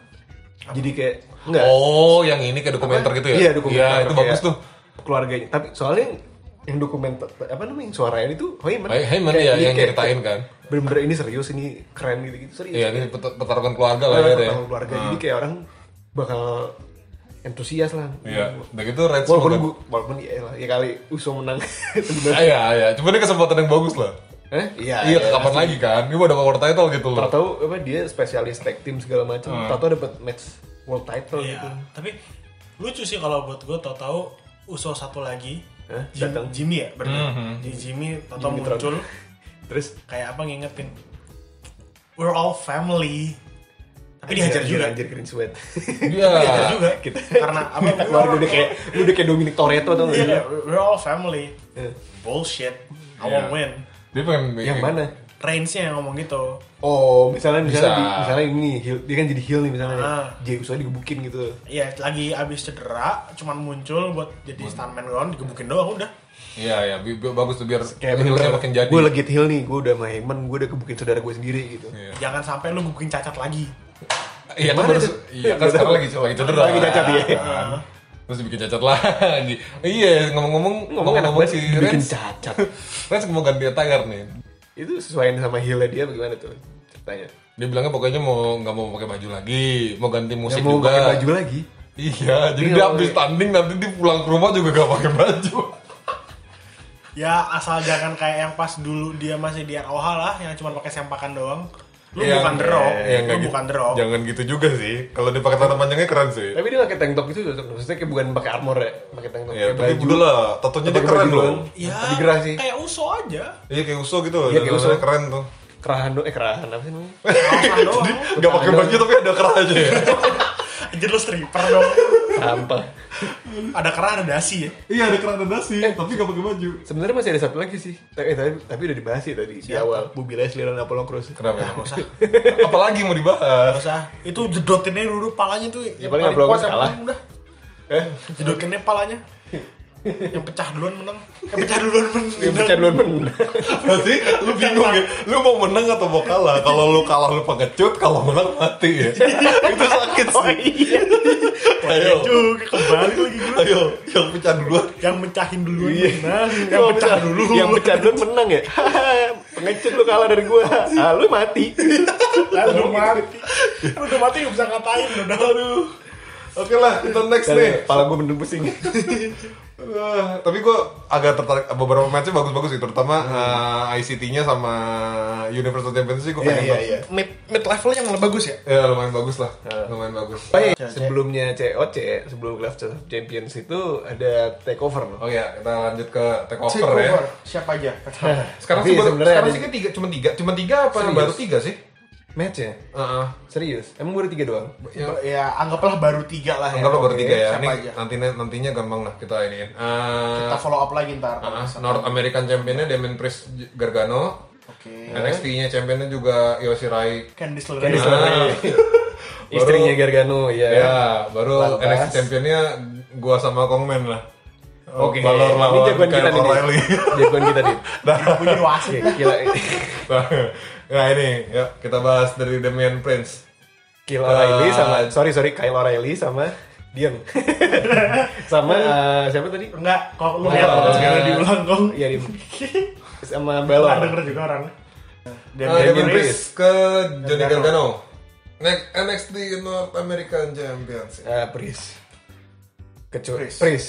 S4: jadi kayak enggak
S2: Oh, yang ini kayak dokumenter gitu ya?
S4: iya dokumenter
S2: Iya, itu
S4: kayak
S2: bagus tuh.
S4: keluarganya tapi soalnya yang, yang dokumenter apa namanya yang suarain itu Heyman
S2: Hey- Heyman,
S4: Kayak
S2: iya,
S4: jadi
S2: yang
S4: kayak-
S2: nyeritain
S4: kayak,
S2: kan.
S4: bener-bener ini serius ini keren gitu gitu serius
S2: Iya, ini pet- petarungan keluarga lah
S4: Orang
S2: ya. ya.
S4: pertama Iya, keluarga jadi kayak orang bakal entusias lah
S2: Iya, udah gitu Red
S4: walaupun
S2: Smoke.
S4: gua, walaupun ya lah ya kali Uso
S2: <laughs>
S4: menang
S2: Ah, Iya, iya. Cuma ini kesempatan yang bagus lah.
S4: Eh? iya
S2: iya, kapan lagi kan? Ini udah power title gitu loh.
S4: tahu apa dia spesialis tag team segala macam.
S2: Hmm.
S4: Tahu dapat match world title
S3: Iya.
S4: gitu.
S3: tapi lucu sih kalau buat gue tau tau usul satu lagi
S4: Hah?
S3: Jim-
S4: Datang.
S3: Jimmy ya berarti
S2: Mhm.
S3: Jadi Jimmy tau tau
S4: Jimmy
S3: muncul
S4: Neutron. Terus
S3: kayak apa ngingetin we're all family Tapi dihajar
S4: Anjir,
S3: juga.
S4: Anjir cringe banget.
S2: Iya.
S3: Dihajar juga.
S4: <laughs> Kita
S3: <laughs> Karena apa?
S4: keluarga udah kayak udah kayak Dominic Toretto tau gak?
S3: <laughs> Iya, we're all family.
S4: Iya.
S3: Bullshit.
S2: Iya.
S3: I won't win.
S2: Dia pengen bikin.
S4: Yang mana?
S3: Reigns-nya yang ngomong gitu.
S4: Oh, misalnya misalnya
S2: Bisa.
S4: di, misalnya ini heel- dia kan jadi heel nih misalnya.
S3: Ah.
S4: Dia usaha digebukin gitu.
S3: Iya, lagi abis cedera, cuman muncul buat jadi stuntman doang, digebukin doang udah.
S2: Iya iya bi- bi- bagus tuh biar
S4: Kayak
S2: heelnya
S4: bener
S2: makin jadi.
S4: Gue legit heel nih, gue udah sama Heyman, gue udah gebukin saudara gue sendiri gitu.
S2: Iya.
S3: Jangan sampai lu gebukin cacat lagi.
S2: Iya kan
S4: Mana
S2: baru
S4: itu?
S2: iya kan sekarang lagi lagi cedera.
S4: Lagi cacat, iya.
S2: Kan. Terus dibikin cacat lagi. Iya ngomong-ngomong
S4: Ngomong enak banget
S2: si
S4: sih, bikin
S2: Rens.
S4: cacat.
S2: <laughs> Rens mau ganti attire nih.
S4: Itu sesuaiin sama heelnya dia bagaimana tuh ceritanya?
S2: Dia bilangnya pokoknya mau nggak mau pakai baju lagi, mau ganti musik
S4: Gak Ya, mau
S2: juga.
S4: pakai baju lagi.
S2: Iya, jadi
S4: Dia
S2: dia
S4: nggak
S2: habis
S4: pakai.
S2: tanding nanti dia pulang ke rumah juga gak pakai baju.
S3: Ya asal jangan kayak yang pas dulu dia masih di ROH lah, yang cuma pakai sempakan doang. Lu
S2: Yang-
S4: Iya,
S3: bukan The
S2: yang
S3: Rock, lu
S2: nggak gitu.
S3: bukan The Rock.
S2: Jangan gitu juga sih. Kalau dia pakai tanah panjangnya keren sih.
S4: Tapi dia pakai tank top itu cocok. Maksudnya kayak bukan pakai armor ya, pakai tank top.
S2: Iya,
S4: pakai
S2: tapi
S4: baju.
S2: udah lah, tatonya dia
S4: Pakai
S2: keren
S4: baju
S2: loh.
S4: doang.
S3: Ya,
S4: Tapi gerah sih.
S3: kayak Uso aja.
S2: Iya kayak Uso gitu loh,
S4: Iya, kayak
S2: dandanannya
S4: Uso.
S2: keren tuh.
S4: Kerahan do, eh kerahan apa sih namanya?
S3: Alasan doang.
S4: <laughs>
S2: Gak pakai baju tapi ada kerahnya ya.
S3: Anjir lu stripper dong.
S4: Sampah.
S3: Ada kerah, ada dasi ya.
S2: <laughs> Iya ada kerah dasi, tapi gak pakai baju.
S4: Sebenarnya masih ada satu lagi sih. Tapi, eh, tapi, tapi udah dibahas sih tadi di awal. Bobby Leslie dan Apollo Crews.
S2: Kenapa?
S3: Nggak usah.
S2: Apalagi mau dibahas? <laughs>
S3: Nggak usah. Itu jedotinnya dulu palanya tuh.
S4: Ya,
S3: yang
S4: paling upload
S3: kuat, yang
S4: kalah.
S3: paling Udah.
S4: Eh,
S3: Jedotinnya
S4: <laughs>
S3: palanya. Yang pecah duluan menang. Yang pecah duluan menang.
S4: dia pecah duluan menang.
S2: Berarti lu bingung ya, lu mau menang atau mau kalah? Kalau lu kalah lu pengecut, kalau menang <laughs> mati ya. Itu sakit sih.
S3: Ya
S2: Ayo,
S3: juga kembali lagi gue.
S2: ayo, yang pecah duluan.
S3: Yang mecahin duluan
S4: Iya.
S3: menang. Yang pecah dulu.
S4: Yang pecah duluan menang ya. <laughs> Pengecut lu kalah dari gua. Ah, lu mati.
S3: Lalu mati. Udah mati nggak bisa ngatain udah. Aduh.
S2: Oke lah, kita next nih.
S4: Dan Kepala gua mendung pusing.
S2: Eh, tapi gue agak tertarik beberapa matchnya bagus-bagus sih terutama eh, ICT-nya sama Universal Championship gue pengen banget.
S3: Iya, Mid, mid levelnya malah bagus ya.
S2: ya lumayan bagus lah lumayan bagus
S4: Baik, sebelumnya COC, sebelum Clash of Champions itu ada takeover loh.
S2: oh ya kita lanjut ke takeover
S3: Take
S2: ya
S3: over. Siapa aja?
S2: sekarang
S4: Tapi
S2: sih baru-
S4: sebenarnya
S2: sekarang
S4: ada-
S2: sih kan tiga cuma tiga cuma tiga apa
S4: Serius?
S2: baru tiga sih
S4: Match ya?
S2: Heeh.
S4: Serius? Emang gua ada tiga doang?
S2: Ya,
S3: Ya anggaplah baru tiga lah ya.
S2: anggaplah baru
S3: Oke,
S2: tiga ya.
S3: Siapa
S2: Ini
S3: aja?
S2: nantinya nantinya gampang lah kita iniin. Eh,
S3: Kita follow up lagi ntar. kalau
S2: ah,
S3: bisa.
S2: North American Championnya Damien Priest Gargano,
S3: Oke.
S2: nah. NXT-nya Championnya juga Yoshirai.
S3: Candice LeRae.
S4: Candice LeRae. <laughs> Istrinya Gargano, ya.
S2: Ya, baru
S4: Lantas.
S2: NXT Championnya gua sama Kongmen lah.
S4: Oke.
S2: Balor
S4: Ini
S2: lawan
S4: jagoan kita
S2: Kyle
S4: nih.
S2: O'Reilly.
S4: Dit. <laughs> Jagoan kita nih.
S3: Nggak punya
S2: Iya.
S3: wasit.
S4: Gila,
S2: Nah, <laughs> nah ini, ya kita bahas dari Damien Prince.
S4: <laughs> Kyle O'Reilly
S2: Ah.
S4: sama sorry sorry Kyle O'Reilly sama Dion. <laughs> sama eh, siapa tadi?
S3: Enggak, kok lu lihat
S2: Wah.
S3: sekarang diulang kok.
S4: Iya, <laughs> Dion. sama
S3: Nggak
S4: Balor.
S3: denger juga orang. Oh, iya,
S2: Nah,
S4: Damien
S2: Damien
S4: Priest.
S2: Priest ke Johnny
S3: Gargano.
S2: Gargano. Next NXT North American Champions.
S4: Ah, Pris. Kecuali
S3: Pris.
S4: Pris.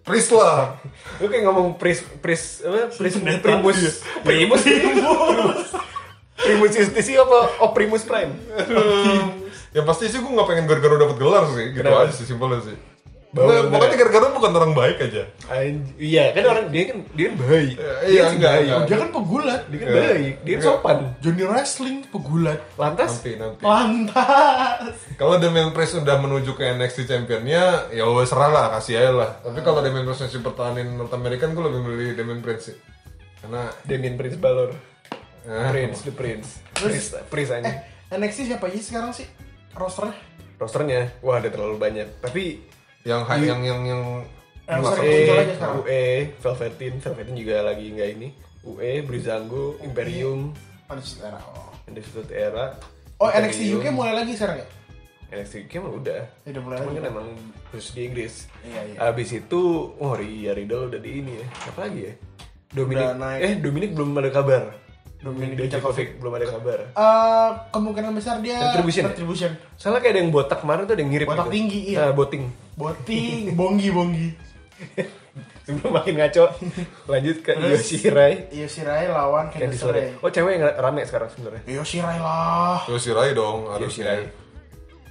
S2: Priest lah.
S4: Lu kayak ngomong Pris Pris apa? Pris
S3: Pendeta.
S4: Primus. Iya. Primus.
S3: iya,
S4: Primus Justisi apa? Oh, Primus Prime.
S2: ya pasti sih gue gak pengen Gargano dapat gelar sih. Gitu
S4: Kenapa?
S2: aja sih simpelnya sih.
S4: Bawa
S2: Nah,
S4: bener.
S2: makanya Gargano bukan orang baik aja.
S4: Anj- iya, kan orang dia kan dia kan baik.
S2: Eh,
S4: Dia
S2: iya,
S4: sih
S2: enggak,
S4: baik.
S2: enggak.
S3: Dia kan pegulat.
S4: Dia kan
S2: Enggak.
S4: baik, dia kan
S2: Enggak.
S4: sopan.
S3: Johnny Wrestling pegulat.
S4: Lantas
S2: Nanti nanti.
S3: Lantas.
S2: Kalau Damien Priest udah menuju ke NXT Championnya, ya wes serah lah, kasih aja lah. Tapi kalau Damien Priest masih pertahanin North American, gue lebih milih Damien Priest sih. Karena
S4: Damien Prince Balor.
S2: Ah.
S4: Prince, the Prince. Prince, Prince aja.
S3: Eh, NXT siapa aja sih sekarang sih? Rosternya?
S4: Rosternya, wah ada terlalu banyak. Tapi
S2: yang high, yang yang yang
S3: Eh,
S2: masuk
S3: sorry.
S2: ke-
S3: muncul
S4: UE,
S3: aja sekarang.
S4: UE, Velveteen, Velveteen E, juga lagi nggak ini. UE, Brizango, Imperium,
S3: Undisputed Era. Oh,
S4: Undisputed Era.
S3: Oh, NXT UK
S4: Imperium.
S3: mulai lagi sekarang ya?
S4: NXT UK mah udah.
S3: Ya, udah mulai
S4: Cuman
S3: lagi.
S4: kan emang khusus di Inggris.
S3: Iya, iya.
S4: Abis itu, oh iya Riddle udah di ini ya. Apa lagi ya? Dominic,
S3: Udah naik.
S4: eh Dominic belum ada kabar.
S3: Dominic
S4: Dijakovic belum ada kabar.
S3: Eh, kemungkinan besar dia
S4: Retribution ya?
S3: Retribution.
S4: Soalnya kayak ada yang botak kemarin tuh ada yang ngirip.
S3: Botak tinggi, iya.
S4: Nah, boting. <laughs>
S3: Boting, bonggi bonggi.
S4: Sebelum makin
S3: <laughs>
S4: ngaco, lanjut ke
S3: Terus? Iya,
S4: Yoshirai.
S3: Yoshirai lawan Candice
S4: Candice
S3: LeRae.
S4: LeRae. Oh cewek yang rame sekarang sebenarnya.
S3: Yoshirai lah.
S2: Yoshirai dong harusnya.
S4: Yoshirai.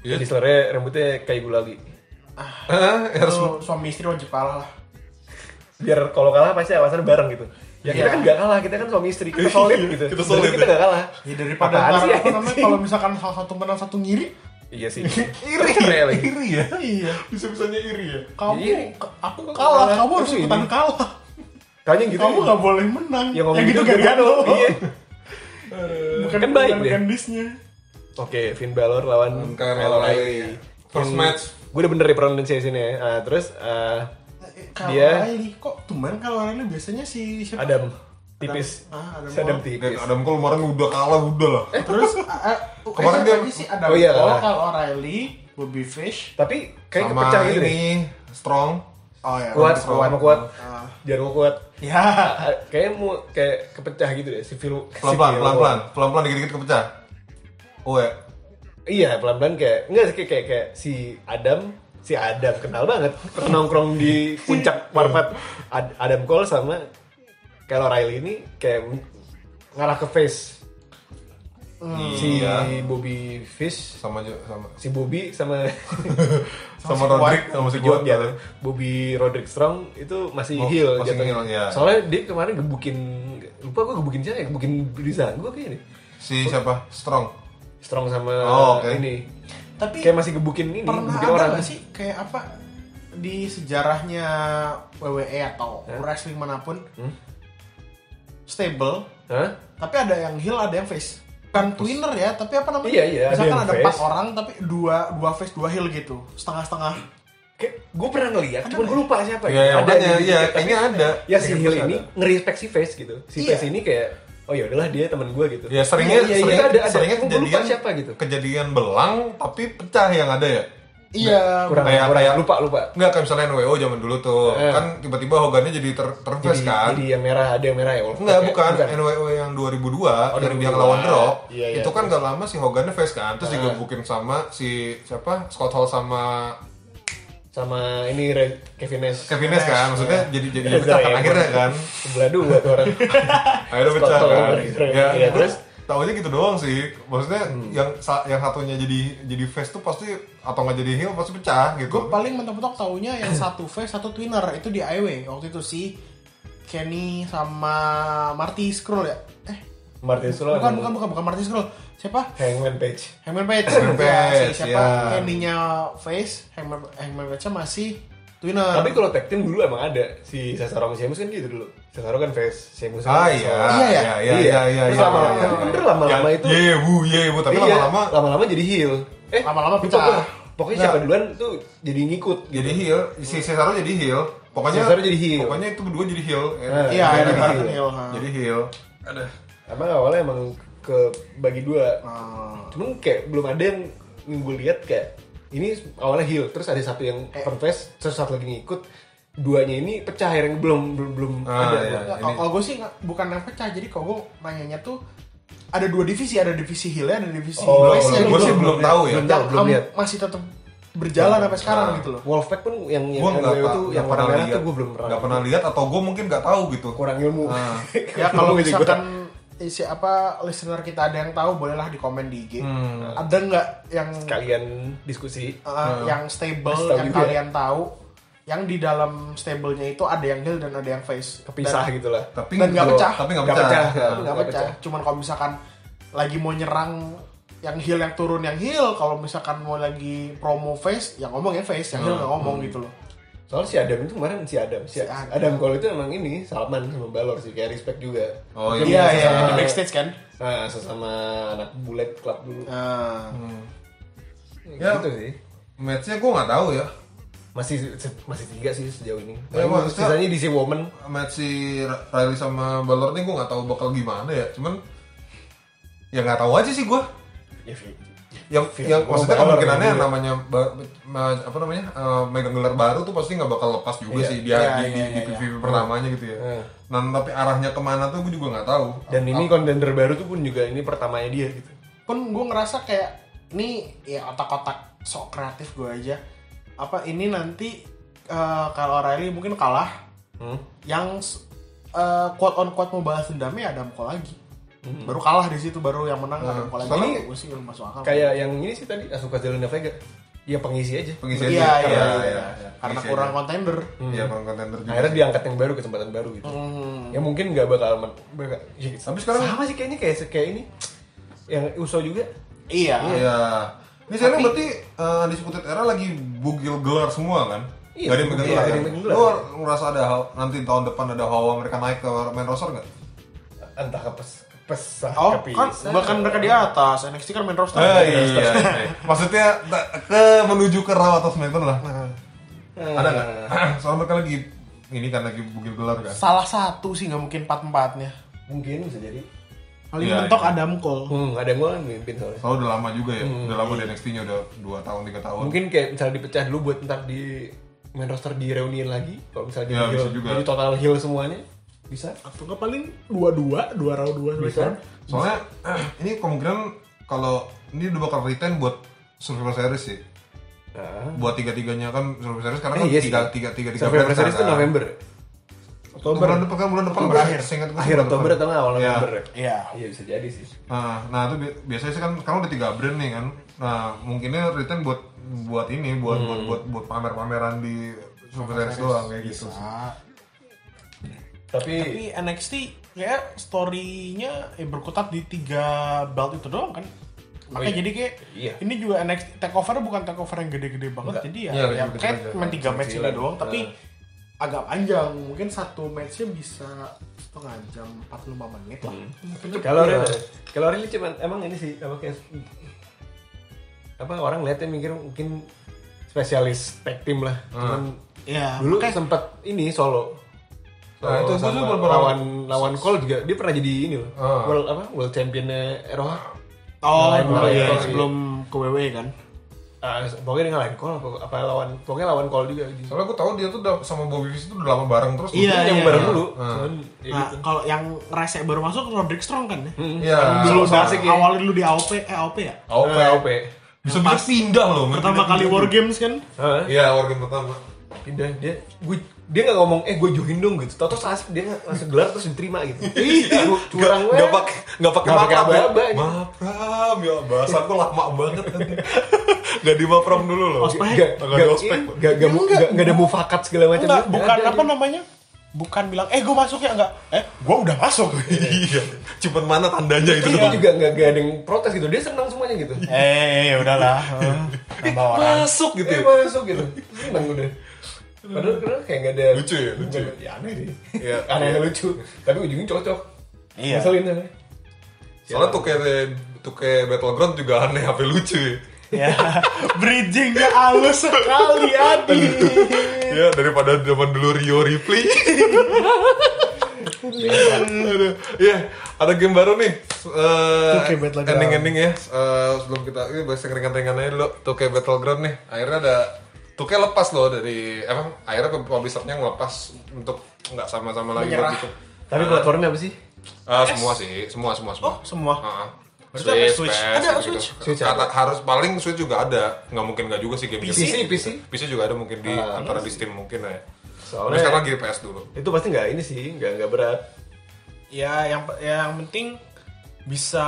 S2: Iya.
S4: Candice LeRae rambutnya kayak gue lagi.
S2: <laughs> Hah? Harus
S4: Oh.
S3: Itu suami istri wajib kalah lah.
S4: Biar kalau kalah pasti alasan bareng gitu. Ya kita
S3: Iya.
S4: kan gak kalah, kita kan suami istri, kita solid gitu.
S2: Kita solid,
S4: Berarti kita
S2: ya.
S4: gak kalah.
S3: Ya daripada
S4: Apaan
S3: ntar
S4: sih,
S3: apa namanya
S4: anjing?
S3: kalau misalkan salah satu menang satu ngiri
S4: Iya
S3: <laughs>
S4: sih. Iri ya,
S2: Iri ya?
S3: Iya.
S2: Bisa-bisanya iri ya?
S3: Kamu,
S4: Iya.
S3: ke- aku
S4: Kalah.
S3: kalah. Kamu harus
S4: Aku ini.
S3: ikutan kalah.
S4: Kayaknya gitu.
S3: Kamu nggak boleh menang.
S4: Ya, ngomong
S3: gitu
S4: gitu
S3: gak
S4: Gargano. Iya.
S3: Bukan
S4: Kan baik
S3: bukan
S4: deh.
S3: Gandhisnya.
S4: Oke, Finn Balor lawan
S2: Kyle
S4: Kyle
S2: O'Reilly. First match.
S4: Gue udah bener ya pronunciation-nya. Ah, terus eh,
S3: Kalau
S4: Dia-
S3: Riley, kok tumben kalau Riley biasanya si siapa?
S4: Adam tipis.
S3: Adam- ah, Adam
S4: Si Adam
S3: Cole.
S2: Dan
S4: tipis.
S2: Adam Cole kemarin udah kalah, udah lah.
S4: Eh, <laughs>
S3: Terus a- a-
S2: Kemarin dia-
S3: tadi sih Adam
S4: Oh iya,
S3: Cole,
S4: kalah.
S3: kalau O'Reilly, Bobby Fish.
S4: Tapi kayak
S2: Sama
S4: kepecah gitu deh.
S2: ini, Strong.
S3: Oh ya.
S4: Kuat,
S2: Kuat.
S4: sama kuat.
S3: Ah.
S4: Jarwo kuat. <laughs>
S3: Ya.
S4: Ah, Kayaknya mau kayak kepecah gitu deh si Phil. si
S2: Pelan-pelan,
S4: Phil.
S2: pelan-pelan. Pelan-pelan dikit-dikit kepecah. Oh ya.
S4: Iya, pelan-pelan kayak enggak sih, kayak, kayak kayak si Adam, si Adam kenal banget. Pernah Nongkrong di
S2: <laughs>
S4: puncak Warpat Ad- Adam Cole sama Kyle O'Reilly ini kayak ngarah ke face si
S2: Iya.
S4: Bobby Fish,
S2: Sama juga, sama.
S4: si Bobby
S2: <laughs>
S4: sama
S2: Sama Rodrik, sama si Kuat.
S4: John ya. Bobby Roderick Strong itu masih
S2: Oh,
S4: heel
S2: masih heel, ya.
S4: Soalnya dia kemarin gebukin lupa gue gebukin siapa ya? Gebukin Brizango kayaknya deh.
S2: Si siapa? Strong.
S4: Strong sama
S2: Oh, oke.
S4: ini.
S3: Tapi
S4: Kayak masih gebukin ini,
S3: pernah
S4: gebukin
S3: ada
S4: orang.
S3: nggak sih kayak apa di sejarahnya WWE atau wrestling manapun
S4: Hmm?
S3: stable
S4: Hah?
S3: tapi ada yang heel ada yang face bukan twinner ya tapi apa namanya
S4: Iya, iya, ada
S3: misalkan
S4: yang
S3: ada empat
S4: face.
S3: orang tapi dua dua face dua heel gitu setengah setengah
S4: gue pernah ngeliat, cuman
S3: ya?
S4: gue lupa siapa
S2: Iya, iya, makanya,
S4: gitu,
S2: iya,
S4: tapi-
S2: kayaknya ada.
S4: Ya si
S2: Kayaknya
S4: Hill
S2: pasti
S4: ini
S2: ada.
S4: ngerespek si Face gitu. Si
S3: Iya.
S4: Face ini kayak, oh ya udahlah dia teman gue gitu.
S2: Ya seringnya,
S4: Iya, iya,
S2: seringnya,
S4: ada, ada.
S2: seringnya
S4: Gua lupa
S2: kejadian
S4: siapa gitu.
S2: Kejadian belang tapi pecah yang ada ya.
S3: iya
S4: Kurang,
S2: Kayak-
S4: kurang,
S2: kayak-
S4: lupa, lupa.
S2: Enggak kayak misalnya NWO zaman dulu tuh.
S4: Eh.
S2: Kan tiba-tiba Hogannya jadi ter terfes
S4: Jadi,
S2: kan.
S4: jadi yang merah, ada yang merah ya. Wolfpack
S2: Enggak,
S4: ya?
S2: bukan. NWO yang 2002 yang dia
S4: 2002.
S2: ngelawan The Rock.
S4: Iya, iya.
S2: itu kan gak lama si Hogannya face kan. Terus digebukin sama si siapa? Scott Hall sama
S4: Sama ini Re- Kevin Nash.
S2: Kevin Nash kan. Maksudnya jadi jadi
S4: Iya,
S2: pecah kan
S4: iya.
S2: akhirnya kan.
S4: Sebelah dua tuh
S2: <laughs>
S4: orang.
S2: Akhirnya
S4: Scott
S2: pecah
S4: Hall
S2: kan.
S4: sama Kevin Nash.
S2: Ya,
S4: Iya, Hmm.
S2: terus
S4: terus?
S2: Taunya gitu doang sih. Maksudnya yang sa- yang satunya jadi jadi face tuh pasti atau nggak jadi heel pasti pecah gitu.
S3: gue paling mentok-mentok taunya yang satu face satu twinner itu di IW waktu itu si Kenny sama Marty Scroll ya eh
S4: Martin Sula.
S3: bukan bukan bukan bukan Marty Scroll siapa
S4: Hangman Page.
S3: Hangman Page.
S2: Hangman Page,
S3: Ya, si siapa?
S2: ya.
S3: Kenny-nya face, Hangman, Hangman Page-nya masih twinner.
S4: Tapi kalau tag team dulu emang ada si Sasaro sama Sheamus kan gitu dulu. Sasaro kan face, Sheamus kan
S2: Ah
S4: face.
S2: iya,
S3: Iya, ya?
S2: iya, iya, iya,
S4: Terus
S2: iya,
S4: lama-lama-
S2: iya, iya.
S4: tapi bener lama-lama
S2: Ya,
S4: itu-
S2: Iya, bu, iya, bu. Tapi
S4: Iya,
S2: lama-lama
S4: lama-lama jadi heel. Eh,
S3: Lama-lama
S4: lupa
S3: pecah.
S4: gua. Pokoknya siapa
S2: Nah.
S4: duluan tuh jadi ngikut. gitu.
S2: jadi heel, si Cesaro jadi heel. Pokoknya
S4: Cesaro jadi heel.
S2: Pokoknya itu berdua jadi heel.
S4: Nah,
S3: Iya,
S2: jadi
S3: Iron
S2: heel.
S3: Heart Hill. ha.
S2: Jadi heel.
S4: Emang awalnya emang ke bagi dua.
S3: Ah.
S4: Cuman kayak belum ada yang yang gue lihat kayak ini awalnya heel, terus ada satu yang confess, terus satu lagi ngikut. Duanya ini pecah yang belum belum belum
S2: Ah,
S4: ada.
S2: iya.
S3: Nggak,
S2: ini-
S3: Ya, kalau- Kalau gue sih nggak- bukan yang pecah, jadi kalau gue nanyanya tuh ada dua divisi, ada divisi heel ada divisi
S4: Oh,
S3: face-nya
S2: Gue
S3: gitu.
S2: sih belum tahu ya.
S4: Belum tahu, belum
S3: Am-
S4: lihat.
S3: Masih tetap berjalan sampai sekarang gitu loh.
S4: Wolfpack pun yang yang
S2: Gue nggak
S4: NWO
S2: tahu.
S4: tuh kan yang warna merah tuh gue belum pernah.
S2: Gak pernah lihat atau gue mungkin nggak tahu gitu.
S4: kurang ilmu. <laughs>
S2: Ah.
S3: Ya <laughs> kalau
S4: Kurang ilmu jadi gua.
S3: misalkan isi apa listener kita ada yang tahu bolehlah di komen di IG. Ada nggak yang
S4: kalian diskusi
S3: Uh, yang stable
S4: Kasih tahu
S3: yang
S4: juga.
S3: kalian tahu yang di dalam stable-nya itu ada yang heel dan ada yang face
S4: kepisah
S3: dan,
S4: gitu lah.
S2: Tapi
S3: Dan nggak
S2: gua-
S3: pecah.
S2: Tapi nggak
S4: Nggak
S2: pecah.
S4: pecah,
S2: Ah.
S3: nggak
S4: Nggak
S3: pecah. cuman kalau misalkan lagi mau nyerang yang heel yang turun yang heel kalau misalkan mau lagi promo face yang ngomong ya face yang heel nggak ngomong gitu loh
S4: Soalnya si Adam itu kemarin si Adam, si,
S3: Si Adam.
S4: Adam Cole itu emang ini Salman sama Balor sih kayak respect juga.
S2: Oh,
S4: Mungkin
S2: iya,
S4: sesama-
S3: di backstage kan
S4: Nah, sesama anak bullet club dulu.
S3: Nah,
S2: Ya.
S4: Gitu sih.
S2: Matchnya gue nggak tahu ya.
S4: Masih se- masih tiga sih sejauh ini.
S2: Ya,
S4: Paling
S2: maksudnya-
S4: sisanya di si Woman.
S2: Match si Ra- Riley sama Balor nih gue nggak tahu bakal gimana ya. Cuman ya nggak tahu aja sih gue. Iya,
S4: Ya, Vi.
S2: yang
S4: Fifth
S2: yang
S4: Wall
S2: maksudnya
S4: Balor
S2: kemungkinannya
S4: gitu
S2: yang
S4: ya.
S2: namanya ba- ma- apa namanya eh, megang gelar baru tuh pasti nggak bakal lepas juga
S4: Iya.
S2: sih dia
S3: Iya,
S2: di,
S3: iya,
S2: di,
S3: iya,
S2: di PVP pertamanya gitu ya.
S4: Iya.
S2: Nah tapi arahnya kemana tuh gue juga nggak tahu.
S4: Dan ini kontender baru tuh pun juga ini pertamanya dia gitu.
S3: pun gue Kan ngerasa kayak ini ya otak-otak sok kreatif gue aja apa ini nanti uh, kalau Riley mungkin kalah
S4: Hmm.
S3: yang uh, quote on quote mau balas dendamnya Adam Cole lagi baru kalah di situ baru yang menang Adam Cole lagi
S2: Hmm. Nah, soalnya-
S3: gue sih belum masuk akal Iya,
S4: Kayak yang ini sih tadi Asuka Zelina Vega. Ya pengisi aja.
S2: pengisi aja.
S3: iya iya,
S2: Iya,
S3: iya.
S2: iya, iya.
S3: karena
S2: Pengisi
S3: kurang
S2: aja.
S3: kontender
S2: Iya kurang kontender juga.
S4: Akhirnya diangkat yang baru kesempatan baru gitu.
S2: Hmm.
S4: Ya mungkin nggak bakal men- bakal- ya,
S2: Tapi sekarang-
S4: sama sih kayaknya kayak kayak ini yang Uso juga
S3: iya
S2: Iya. Ini sekarang berarti eh, Undisputed Era lagi bugil gelar semua kan?
S4: Iya,
S2: Gak ada yang megang
S4: iya,
S2: gelar
S4: gak ada
S2: kan?
S4: yang megang gelar.
S2: Lu merasa ada hal- nanti tahun depan ada hawa mereka naik ke main roster nggak?
S4: entah kepes kepesah
S3: Oh, kan
S4: kepisah.
S3: bahkan mereka di atas. NXT kan main roster.
S2: Eh, <laughs> iya, iya. Maksudnya ta- ke menuju ke raw atau smackdown lah. Ada
S3: Eh.
S2: nggak? Soalnya Eh, mereka lagi ini kan lagi bugil gelar kan?
S3: Salah satu sih nggak mungkin empat empatnya.
S4: mungkin bisa jadi
S3: Paling
S2: Iya,
S3: mentok
S2: iya.
S3: Adam Cole.
S4: hmm ada yang gue kan mimpin soalnya
S2: Soalnya udah lama juga ya, udah lama di NXT-nya udah 2 tahun, 3 tahun.
S4: Hmm, iya. mungkin kayak misalnya dipecah dulu buat ntar di main roster direuniin lagi kalau misalnya di
S2: Ya, bisa
S4: heel,
S2: juga.
S4: jadi total heal semuanya bisa
S3: Atau nggak paling dua-dua, dua round dua
S4: Bisa.
S3: SmackDown.
S2: Soalnya eh, ini kemungkinan kalau ini udah bakal retain buat Survivor Series sih.
S4: nah.
S2: Buat tiga-tiganya kan Survivor Series karena
S4: Eh,
S2: kan
S4: iya sih.
S2: Ah. tiga, tiga, tiga, tiga
S4: Survivor
S2: versi
S4: Series itu
S2: kan.
S4: November
S2: Oktober. Bulan depan kan bulan depan berakhir.
S4: akhir Oktober atau nggak awal November ya?
S3: Iya.
S4: iya bisa jadi sih
S2: Nah, nah itu bi- biasanya sih kan sekarang udah tiga brand nih kan. Nah, mungkinnya return buat buat ini buat buat
S4: Hmm.
S2: buat buat pamer-pameran di Survivor Series doang kayak gitu. sih.
S3: Ah,
S4: tapi
S3: Tapi NXT kayak ya, story-nya eh, berkutat di tiga belt itu doang kan. Makanya jadi kayak
S4: Oh, Iya.
S3: ini juga NXT takeover bukan takeover yang gede-gede banget.
S4: Enggak.
S3: Jadi ya,
S2: Iya,
S3: ya
S2: kecil-kecil
S3: kayak
S2: aja.
S3: cuma tiga match ini
S4: Kecilan.
S3: doang tapi
S4: Nah.
S3: agak panjang. Mungkin satu matchnya bisa setengah jam 45 menit lah.
S4: Hmm.
S2: iya.
S4: kalori kalori ini cuman emang ini sih apa kayak apa orang lihatnya mikir mungkin spesialis tag team lah
S2: Hmm.
S4: cuman
S3: Ya,
S4: dulu
S3: makanya-
S4: sempet ini solo
S2: Nah, itu- itu
S4: sama
S2: tuh beberapa-
S4: lawan lawan Cole juga dia pernah jadi ini loh
S2: Ah.
S4: world apa world championnya ROH
S3: Oh,
S4: Ngalahin
S3: bener
S4: Cole
S3: ya,
S4: ya.
S3: sebelum ke WW kan.
S4: Ah, pokoknya dia ngalahin Cole apa, apa lawan pokoknya lawan Cole juga gitu.
S2: Soalnya aku tahu dia tuh udah- sama Bobby Fish tuh udah lama bareng terus.
S3: Iya,
S4: Mungkin yang
S3: iya,
S4: baru
S3: iya.
S4: dulu
S2: Ah.
S4: cuman ya
S3: Nah,
S4: gitu.
S3: kalau yang rese baru masuk Roderick Strong kan ya.
S2: Iya.
S3: Dulu
S4: sama
S3: nah,
S4: Hmm. sih, kayak-
S3: awalnya dulu di AOP, eh AOP ya.
S2: AOP.
S4: Eh, OP
S2: Bisa bisa pindah loh.
S3: Pertama kali
S4: Iya,
S3: War Games kan.
S4: Ah.
S2: Iya, war game pertama.
S4: pindah dia gue dia nggak ngomong eh gue join dong gitu tau asik dia nggak langsung gelar terus diterima gitu iya curang gue
S2: Gak pakai gak pakai
S4: Nggak pakai
S2: mapram. ya.
S4: aba-aba, gitu.
S2: Mapram ya bahasa aku lama banget. kan. <laughs> Gak di mapram dulu loh.
S3: Ospek.
S4: gak
S2: Nggak
S4: gak
S2: ada ospek.
S4: gak- gak gak gak- gak ada mufakat segala macam
S3: Enggak,
S4: Nggak
S3: bukan
S4: ada,
S3: apa
S4: gitu.
S3: namanya? Bukan bilang, eh gue masuk ya enggak? Eh, gue udah masuk.
S2: Iya. Cuman mana tandanya gitu. itu
S4: Terus
S2: doang.
S4: dia juga gak, gak ada yang protes gitu dia senang semuanya gitu
S3: eh, <laughs> udahlah. Tambah orang.
S2: Masuk gitu. ya.
S4: dia masuk gitu senang udah padahal padahal kayak gak ada
S2: Lucu ya, lucu.
S4: Nggak- ya aneh sih
S2: Iya.
S4: <laughs> aneh lucu tapi ujungnya cocok
S3: Iya.
S4: ngeselin aneh
S2: Soalnya tuh kayak tuh kayak battleground juga aneh apa lucu. ya.
S3: Ya, <laughs> bridgingnya halus sekali, Adi.
S2: Ya daripada zaman dulu Rio Ripley. Aduh. Iya, ada game baru nih.
S3: Tokyo Battleground.
S2: ending ending ya. Eh, sebelum kita ini bahas yang ringan-ringan aja dulu. Tuke Battleground nih. Akhirnya ada Tuke lepas loh dari emang akhirnya publishernya ngelepas untuk nggak sama-sama lagi gitu.
S3: Menyerah.
S2: berpikir.
S4: tapi platformnya apa sih
S2: Ah, semua sih, semua semua semua.
S3: Oh, semua.
S2: Ah, ah.
S3: Berarti apa, Switch? Ada
S2: gitu-gitu.
S3: Switch?
S4: Switch
S2: Kata-
S4: ada.
S2: harus paling Switch juga ada. Nggak mungkin nggak juga sih game
S4: PC? PC?
S2: PC juga ada mungkin di antara di Steam mungkin ya. Tapi
S4: Ah, soalnya
S2: sekarang lagi PS dulu.
S4: itu pasti nggak ini sih nggak nggak berat
S3: ya, yang yang penting bisa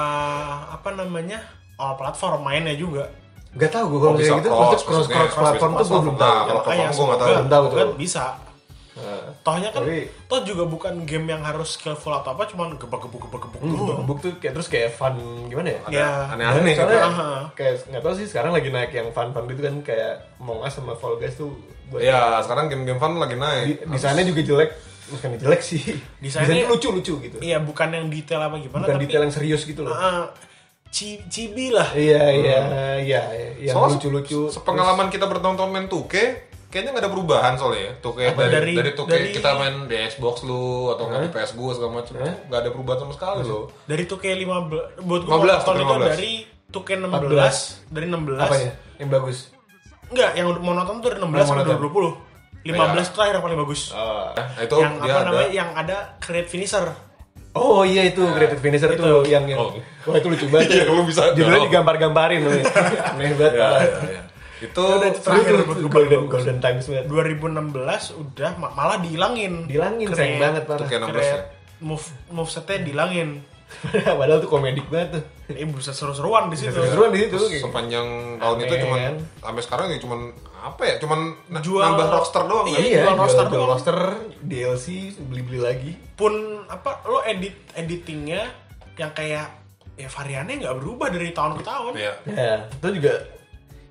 S3: apa namanya? All platform mainnya juga.
S4: Gak tau gue kalau
S2: bisa
S4: kayak gitu
S2: cross,
S4: cross cross
S2: maksudnya
S4: cross platform tuh gue
S2: cross
S4: belum
S2: platform.
S4: tahu.
S2: Nah, kalau platform gua nggak tahu.
S3: semoga-
S4: Belum tahu tuh. kan.
S3: semoga Kan bisa. Tohnya kan
S4: Tapi-
S3: toh juga bukan game yang harus skillful atau apa, cuman gebak-gebuk gebak-gebuk
S4: Nah,
S3: doang.
S4: Buk tuh kayak terus kayak fun gimana ya?
S2: Ada
S3: Ya.
S2: aneh-aneh nih.
S4: soalnya
S2: Gitu.
S3: Aha.
S4: kayak nggak tahu sih sekarang lagi naik yang fun fun gitu kan kayak Among Us sama Fall Guys tuh buat
S2: Ya, sekarang game-game fun lagi
S4: di,
S2: naik.
S4: desainnya juga jelek bukan jelek sih desainnya
S3: Desainnya-
S4: lucu lucu gitu
S3: Iya, bukan yang detail apa gimana
S4: bukan
S3: tapi
S4: detail yang serius gitu loh
S3: ah, ci- cibi lah.
S4: iya iya iya yang
S2: Hmm. Soalnya
S4: lucu lucu
S2: se- Sepengalaman kita bertonton main Tuke, kayaknya nggak ada perubahan soalnya ya. Tuke
S3: Apa,
S2: dari
S3: dari-
S2: dari, Tuke
S3: dari-
S2: kita main di Xbox lu atau nggak di PS gua segala macam. tuh Nggak ada perubahan sama sekali loh.
S3: Dari 2K15 buat
S2: 15,
S3: gua tahun itu
S2: 15.
S3: dari 2K16 dari 16
S4: apa ya yang bagus
S3: enggak yang mau nonton tuh dari 16 sampai
S4: monoton.
S3: 20 15 tuh terakhir yang paling bagus
S2: Nah, itu
S3: yang
S2: dia
S3: apa
S2: ada
S3: namanya yang ada create finisher
S4: Oh iya itu creative finisher tuh yang yang
S2: Oh.
S4: wah itu lucu <laughs> banget.
S2: Iya, lu bisa tahu.
S4: Judulnya digambar-gambarin <laughs> Iya, loh. Aneh Oh. banget.
S2: ya, ya,
S3: <laughs>
S2: ya. Itu
S4: Itu udah
S3: terakhir
S4: terakhir
S3: buat gue
S4: golden golden times banget.
S3: 2016 udah ma- malah dihilangin
S4: Dihilangin sayang
S3: Create-
S4: banget parah.
S2: Tuh kayak- 16
S3: create
S2: ya.
S3: move move setnya dihilangin
S4: <laughs> Padahal tuh komedik banget tuh.
S3: ini bisa seru-seruan di situ
S4: Seru-seruan di situ.
S2: Terus
S4: kayak- gitu.
S2: sepanjang tahun itu
S4: Amin.
S2: cuman sampai sekarang ya cuman apa ya? Cuman na-
S3: Jual-
S2: nambah roster doang kan?
S3: Iya,
S4: Iya,
S3: jual
S4: jual
S3: roster
S4: jual
S3: doang.
S4: roster, DLC, beli-beli lagi.
S3: pun apa lo edit editingnya yang kayak ya variannya nggak berubah dari tahun ke tahun
S2: Iya.
S4: Ya, itu juga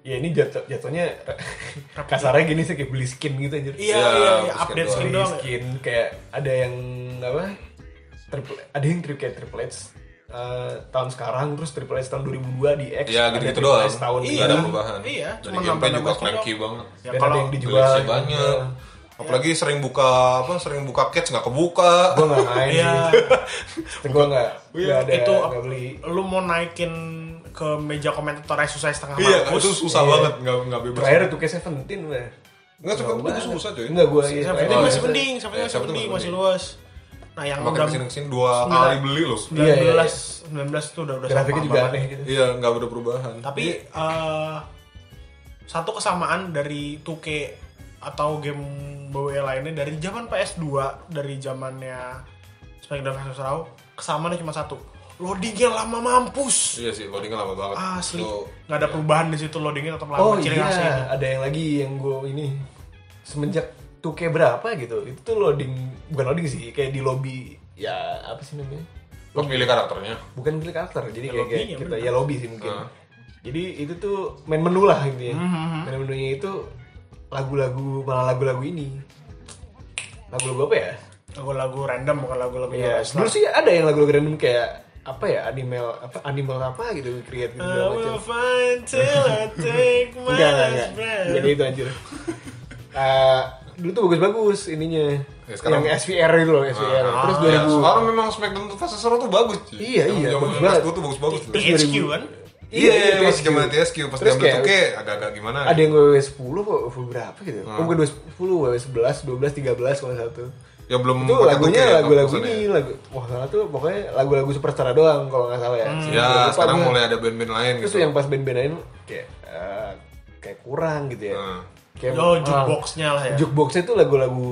S4: ya ini jatuh jatuhnya kasarnya gini sih kayak beli skin gitu anjir
S3: Iya,
S2: Ya,
S3: iya, iya,
S2: basket
S3: update
S2: doang.
S3: skin
S4: beli
S3: doang. ya.
S4: skin kayak ada yang apa triple ada yang triple kayak triple H eh, tahun sekarang terus triple H tahun 2002 di X
S2: Ya
S4: ada
S2: gitu-gitu
S4: Triple
S2: doang.
S4: H tahun
S2: Nggak
S3: Iya.
S2: ada
S4: ini,
S2: perubahan.
S3: Iya,
S2: Dari
S3: cuma
S2: gameplay
S3: nambah-nambah
S2: juga
S3: skin
S2: clanky banget.
S3: Ya,
S4: dan ada
S3: kalau
S4: yang dijual gitu.
S2: Koleksi banyak. Apalagi sering buka apa sering buka catch nggak kebuka.
S4: gue nggak main
S3: Iya.
S4: gue nggak nggak ada
S3: itu
S4: nggak beli
S3: lu mau naikin ke meja komentatornya susah setengah
S2: Iya,
S3: mampus.
S2: itu susah
S4: Iya.
S2: banget nggak nggak bebas.
S4: terakhir itu kayak Seventeen lah
S2: Nggak suka itu susah cuy.
S4: Enggak gue iya.
S3: Sampai
S2: Oh,
S3: ini
S2: iya.
S3: masih mending, sampai
S2: Iya,
S3: ini masih
S2: sampai itu
S3: mending, masih
S2: masih
S3: luas. Nah, yang
S2: Makin
S3: udah
S2: kesini kesini dua
S3: Sembilan.
S2: kali beli loh.
S3: 19
S4: Iya, iya, iya.
S3: 19 tuh udah udah
S4: Grafiknya
S3: sama
S4: juga
S3: banget.
S4: aneh gitu.
S2: Iya nggak ada perubahan.
S3: Tapi eh, satu kesamaan dari 2K atau game BWE lainnya dari zaman PS2 dari zamannya Smackdown vs Raw kesamaannya cuma satu loadingnya lama mampus
S2: Iya sih loadingnya lama banget.
S3: asli
S2: Tuh,
S3: nggak ada perubahan di situ loadingnya tetap lama
S4: Oh
S3: ciri
S4: iya,
S3: khasnya itu.
S4: ada yang lagi yang gue ini semenjak 2K berapa gitu. Itu tuh loading bukan loading sih, kayak di lobby ya apa sih namanya?
S2: Lo pilih karakternya.
S4: Bukan pilih karakter, jadi
S3: Ya,
S4: kayak, kayak
S3: lobbynya,
S4: kita
S3: bener.
S4: ya lobby sih mungkin.
S2: Ah.
S4: Jadi itu tuh main menu lah gitu ya.
S3: Mhm.
S4: Main menunya itu lagu-lagu malah lagu-lagu ini. Lagu-lagu apa ya?
S3: lagu-lagu random bukan lagu-lagu
S4: Iya,
S3: yang
S4: dulu sih ada yang lagu-lagu random kayak apa ya animal apa animal apa gitu create gitu
S3: I
S4: segala macam.
S3: will find till I take my
S4: enggak enggak enggak
S3: last
S4: Enggak
S3: breath.
S4: gitu anjir Eh, dulu tuh bagus-bagus ininya
S2: Ya, sekarang-
S4: yang SVR itu loh SVR
S3: Ah,
S4: terus
S2: Iya,
S4: 2000
S2: sekarang memang Smackdown tuh fase seru tuh bagus cuy.
S4: Iya, iya, bagus
S2: bagus
S4: banget. iya,
S2: banget. tuh bagus bagus.
S4: Terus
S3: THQ
S4: 2000.
S3: kan?
S2: Iya, iya, masih
S4: THQ.
S2: zaman TSQ pas dia
S4: Terus
S2: ambil
S4: kayak-
S2: tuh agak-agak gimana? ya?
S4: ada yang WW 10 kok WW berapa gitu
S2: Ah.
S4: oh bukan WW 10 WW 11 12 13 kalau nggak satu
S2: ya belum
S4: itu
S2: pakai
S4: lagunya
S2: tuke ya,
S4: lagu-lagu
S2: tulisannya.
S4: ini lagu wah salah tuh pokoknya lagu-lagu superstar doang kalau nggak salah ya
S3: Hmm.
S2: Ya,
S4: Lupa
S2: sekarang
S4: gua.
S2: mulai ada band-band lain
S4: terus
S2: gitu.
S4: tuh yang pas band-band lain kayak eh, kayak kurang gitu ya
S2: Hmm.
S4: kayak ah,
S3: Oh, jukeboxnya lah ya.
S4: jukeboxnya tuh lagu-lagu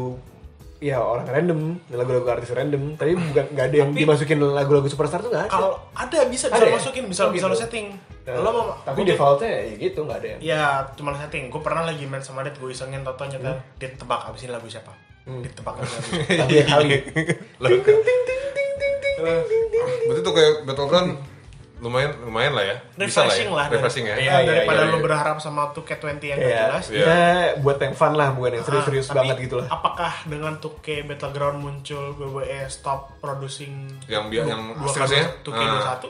S4: ya orang random lagu-lagu artis random tapi bukan nggak ada yang dimasukin lagu-lagu superstar tuh nggak ada
S3: Kalau ada bisa bisa
S4: Ada ya?
S3: masukin, bisa
S4: Oh,
S3: bisa
S4: gitu.
S3: lo setting.
S4: Nah,
S3: Lo mau
S4: tapi
S3: gua-
S4: defaultnya ya gitu nggak ada yang
S2: Iya,
S3: Ya, cuma setting. Gue pernah lagi main sama Dit, gue isengin Toto nyetel.
S4: Hmm.
S3: Dit tebak abis ini lagu siapa? Dit tebak abis ini lagu siapa?
S4: lagu
S2: iya.
S4: yang
S2: <laughs>
S4: kali
S2: Lagu- Berarti tuh kayak Battleground lumayan lumayan lah ya. Bisa lah. Ya.
S3: Refreshing lah. dari-
S2: Refreshing ya.
S3: Iya,
S4: Iya, iya,
S3: daripada
S2: iya,
S3: lo
S2: iya.
S3: berharap sama 2K20 yang gak
S4: ya
S3: Eh, jelas.
S2: Iya.
S4: kita buat yang fun lah bukan yang
S3: Ah,
S4: serius-serius
S3: tapi
S4: banget gitu lah
S3: Apakah dengan 2K Battleground muncul WWE stop producing
S2: Yang bi- yang
S3: dua
S2: asli
S3: kali
S2: ya?
S3: 2K
S2: Ah.
S3: 21?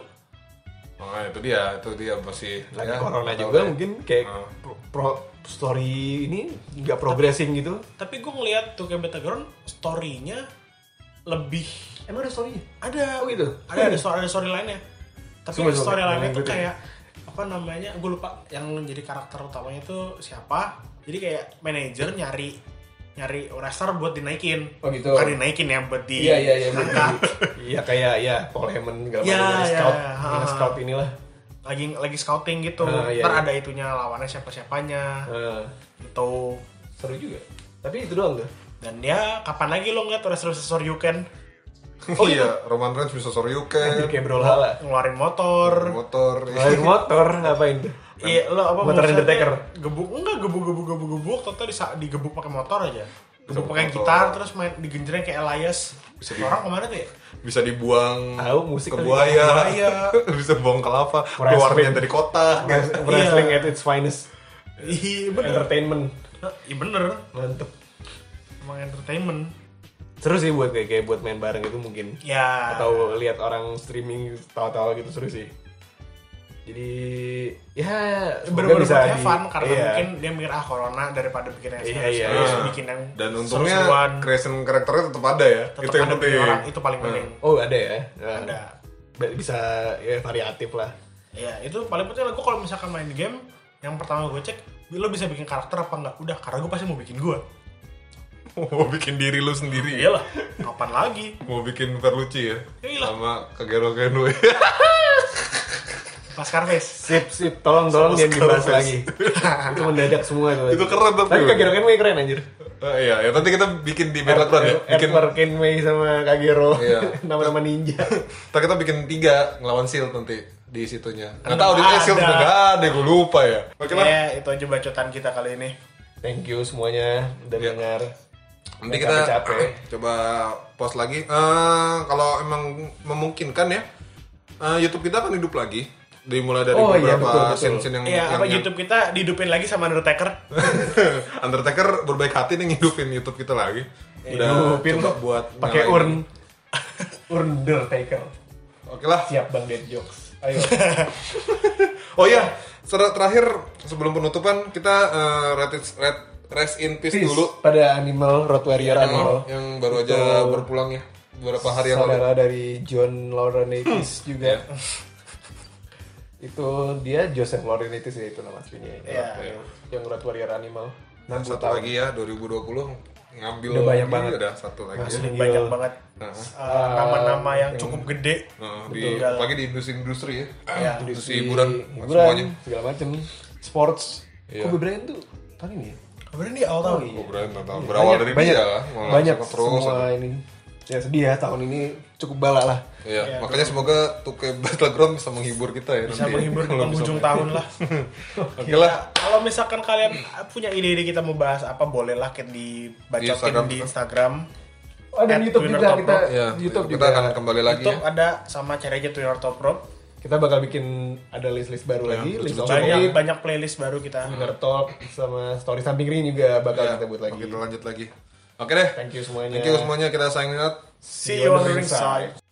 S2: Oh, itu dia, itu dia masih
S4: lagi
S2: ya,
S4: corona
S2: nggak tahu
S4: juga
S2: ya.
S4: mungkin kayak
S2: Ah.
S4: pro- pro- story ini nggak progressing gitu
S3: Tapi gue ngeliat 2K Battleground story-nya lebih
S4: emang ada story
S3: ada
S4: Oh gitu?
S3: ada ada story ada story lainnya tapi
S4: Sumpah,
S3: story
S4: sumpah.
S3: lainnya tuh
S4: Ngikutin.
S3: kayak apa namanya gue lupa yang jadi karakter utamanya tuh siapa jadi kayak manajer nyari nyari wrestler buat dinaikin
S4: Oh gitu.
S3: bukan dinaikin ya buat di
S4: Iya iya iya. Iya kayak ya Paul Heyman segala
S3: Iya,
S4: macam yang
S3: iya,
S4: scout,
S3: iya.
S4: yang
S3: Ha.
S4: scout inilah.
S3: lagi lagi scouting gitu
S4: Ah, iya,
S3: ntar
S4: iya.
S3: ada itunya lawannya siapa siapanya
S4: Nah,
S3: gitu
S4: seru juga. Tapi itu doang tuh.
S3: dan ya kapan lagi lo ngeliat wrestler wrestler you can
S2: Oh iya, Roman Reigns bisa
S4: Jadi
S2: Soryuken,
S4: kayak Brawlhalla.
S3: ngeluarin motor
S2: motor.
S4: Ngelain motor ngapain tuh?
S3: Iya, lo apa
S4: Motor
S3: maksudnya?
S4: Undertaker.
S3: Gebuk enggak gebuk gebuk gebuk gebuk, toto disa- digebuk pakai motor aja. Gebuk
S2: Gebuk
S3: pakai
S2: motor.
S3: gitar terus main digenjreng kayak Elias.
S2: Bisa di-
S3: Orang kemana tuh ya?
S2: Bisa dibuang
S4: Tahu, musik
S2: ke
S4: kali.
S2: buaya.
S3: Buaya.
S2: <laughs> bisa buang kelapa,
S4: Wrestling.
S2: keluarnya dari kota. gitu.
S4: Wrestling at its finest.
S3: Iya bener.
S4: Entertainment.
S3: Iya bener.
S4: Mantep.
S3: Emang entertainment.
S4: Seru sih buat kayak, kayak buat main bareng itu mungkin.
S3: Ya.
S4: Atau lihat orang streaming tawa-tawa gitu seru sih. Jadi ya semoga
S3: bener-bener buat have
S4: di-
S3: fun karena
S4: iya.
S3: mungkin dia mikir ah corona daripada bikin yang
S4: Iya,
S3: serius
S4: iya,
S3: serius,
S2: iya.
S3: bikin yang
S2: Dan untungnya
S3: seru-seruan,
S2: creation karakternya tetap ada ya.
S3: tetap
S2: itu yang
S3: ada bikin
S2: penting.
S3: orang itu paling penting.
S4: Oh ada ya? Nah,
S3: Ada.
S4: Ba- Bisa ya variatif lah.
S3: Ya itu paling penting lah gue kalau misalkan main game yang pertama gue cek lo bisa bikin karakter apa enggak udah karena gue pasti mau bikin gue
S2: <laughs> mau bikin diri lu sendiri ya
S3: iyalah kapan lagi
S2: mau bikin Verluci ya
S3: Iyalah.
S2: sama Eh, Kagero <laughs> Kenue
S3: Pas Carves.
S4: Sip, sip, tolong, tolong
S2: Sama
S4: jangan dibahas
S2: sekali.
S4: lagi. itu mendadak semua tuh.
S2: Itu keren tapi.
S4: Tapi Kagero Kenway keren anjir.
S2: Eh, iya ya nanti kita bikin di Battleground ya bikin
S4: Bikin Kenway sama Kagero.
S2: Iya.
S4: <laughs> Nama-nama ninja.
S2: ntar kita bikin tiga ngelawan Shield nanti di situnya nggak
S3: Ada.
S2: tahu di eh, Shield
S3: Ada.
S2: nggak ada gue lupa ya oke lah
S3: Ya, itu aja bacotan kita kali ini.
S4: Thank you semuanya udah
S2: Iya.
S4: dengar.
S2: nanti
S4: Nggak
S2: kita
S4: capek-capek.
S2: <clears throat> coba post lagi Eh, kalau emang memungkinkan ya eh, YouTube kita akan hidup lagi Dari mulai dari
S4: Oh, iya, betul,
S2: beberapa
S4: betul.
S2: scene-scene yang,
S3: Iya,
S2: yang,
S3: apa
S2: yang-
S3: YouTube kita dihidupin lagi sama Undertaker?
S2: <laughs> Undertaker berbaik hati nih ngidupin YouTube kita lagi. Udah
S4: Hidupin.
S2: coba buat
S4: Iya, pakai
S2: nyalain.
S4: urn Undertaker
S2: Oke lah.
S4: siap bang dead jokes ayo
S2: Oh iya, ser- terakhir sebelum penutupan kita eh, rated red- rest in peace,
S4: Peace
S2: dulu Iya,
S4: pada animal road warrior
S2: yang,
S4: animal
S2: yang baru aja
S4: Betul.
S2: berpulang ya beberapa hari yang lalu. Hmm. Ya.
S4: saudara dari John Laurinaitis juga <laughs> itu dia Joseph Laurinaitis ya itu nama aslinya
S3: Iya.
S4: Yang- yang Red Warrior Animal
S2: Dan
S4: 60
S2: satu
S4: tahun
S2: lagi ya 2020 ngambil
S4: Udah banyak
S2: ini
S4: banget.
S2: udah satu lagi. ya.
S3: Asli
S4: Iya.
S3: banyak banget
S2: Nah,
S3: eh, nama-nama yang cukup gede.
S2: nah, di
S3: Betul.
S2: pagi di industri-industri ya.
S3: Iya.
S2: Industri hiburan,
S4: hiburan
S2: semuanya.
S4: segala macem sports
S2: Iya.
S4: Kobe Bryant tuh tahun ini ya? Iya.
S3: Kemudian di awal tahun.
S2: Oh, Brian, tentang- berawal dari
S4: banyak,
S2: dia lah, mau
S4: banyak
S2: langsung terus.
S4: semua ini ya sedih ya tahun ini cukup bala lah
S2: Iya, makanya semoga Tuke <laughs> Battleground bisa menghibur kita ya
S3: Bisa
S2: nanti.
S3: menghibur di
S2: Kalau bisa
S3: penghujung
S2: main.
S3: tahun lah.
S2: <laughs> Oke lah.
S3: Kalau misalkan kalian punya ide-ide kita mau bahas apa, bolehlah kita
S2: Di Instagram
S3: dibacotin di
S2: kita.
S3: Instagram.
S4: oh, dan
S3: At
S4: YouTube
S3: Winner
S4: juga
S3: Top
S4: kita
S3: Rock.
S2: Iya,
S4: YouTube
S2: kita
S4: juga
S2: akan kembali lagi
S3: Itu
S2: ya.
S3: ada sama cari aja Twitter Top Rope.
S4: kita bakal bikin ada list-list
S2: Iya,
S4: baru lagi list
S2: lucu-lucu.
S4: of
S3: Banyak
S4: Hip,
S3: banyak playlist baru kita.
S2: Hmm.
S4: Winner Talk sama Story Samping Ring juga bakal
S2: Ya,
S4: kita buat lagi.
S2: Kita lanjut lagi. Oke deh.
S4: Thank you semuanya.
S2: Thank you semuanya kita signing out.
S3: See you on the ringside.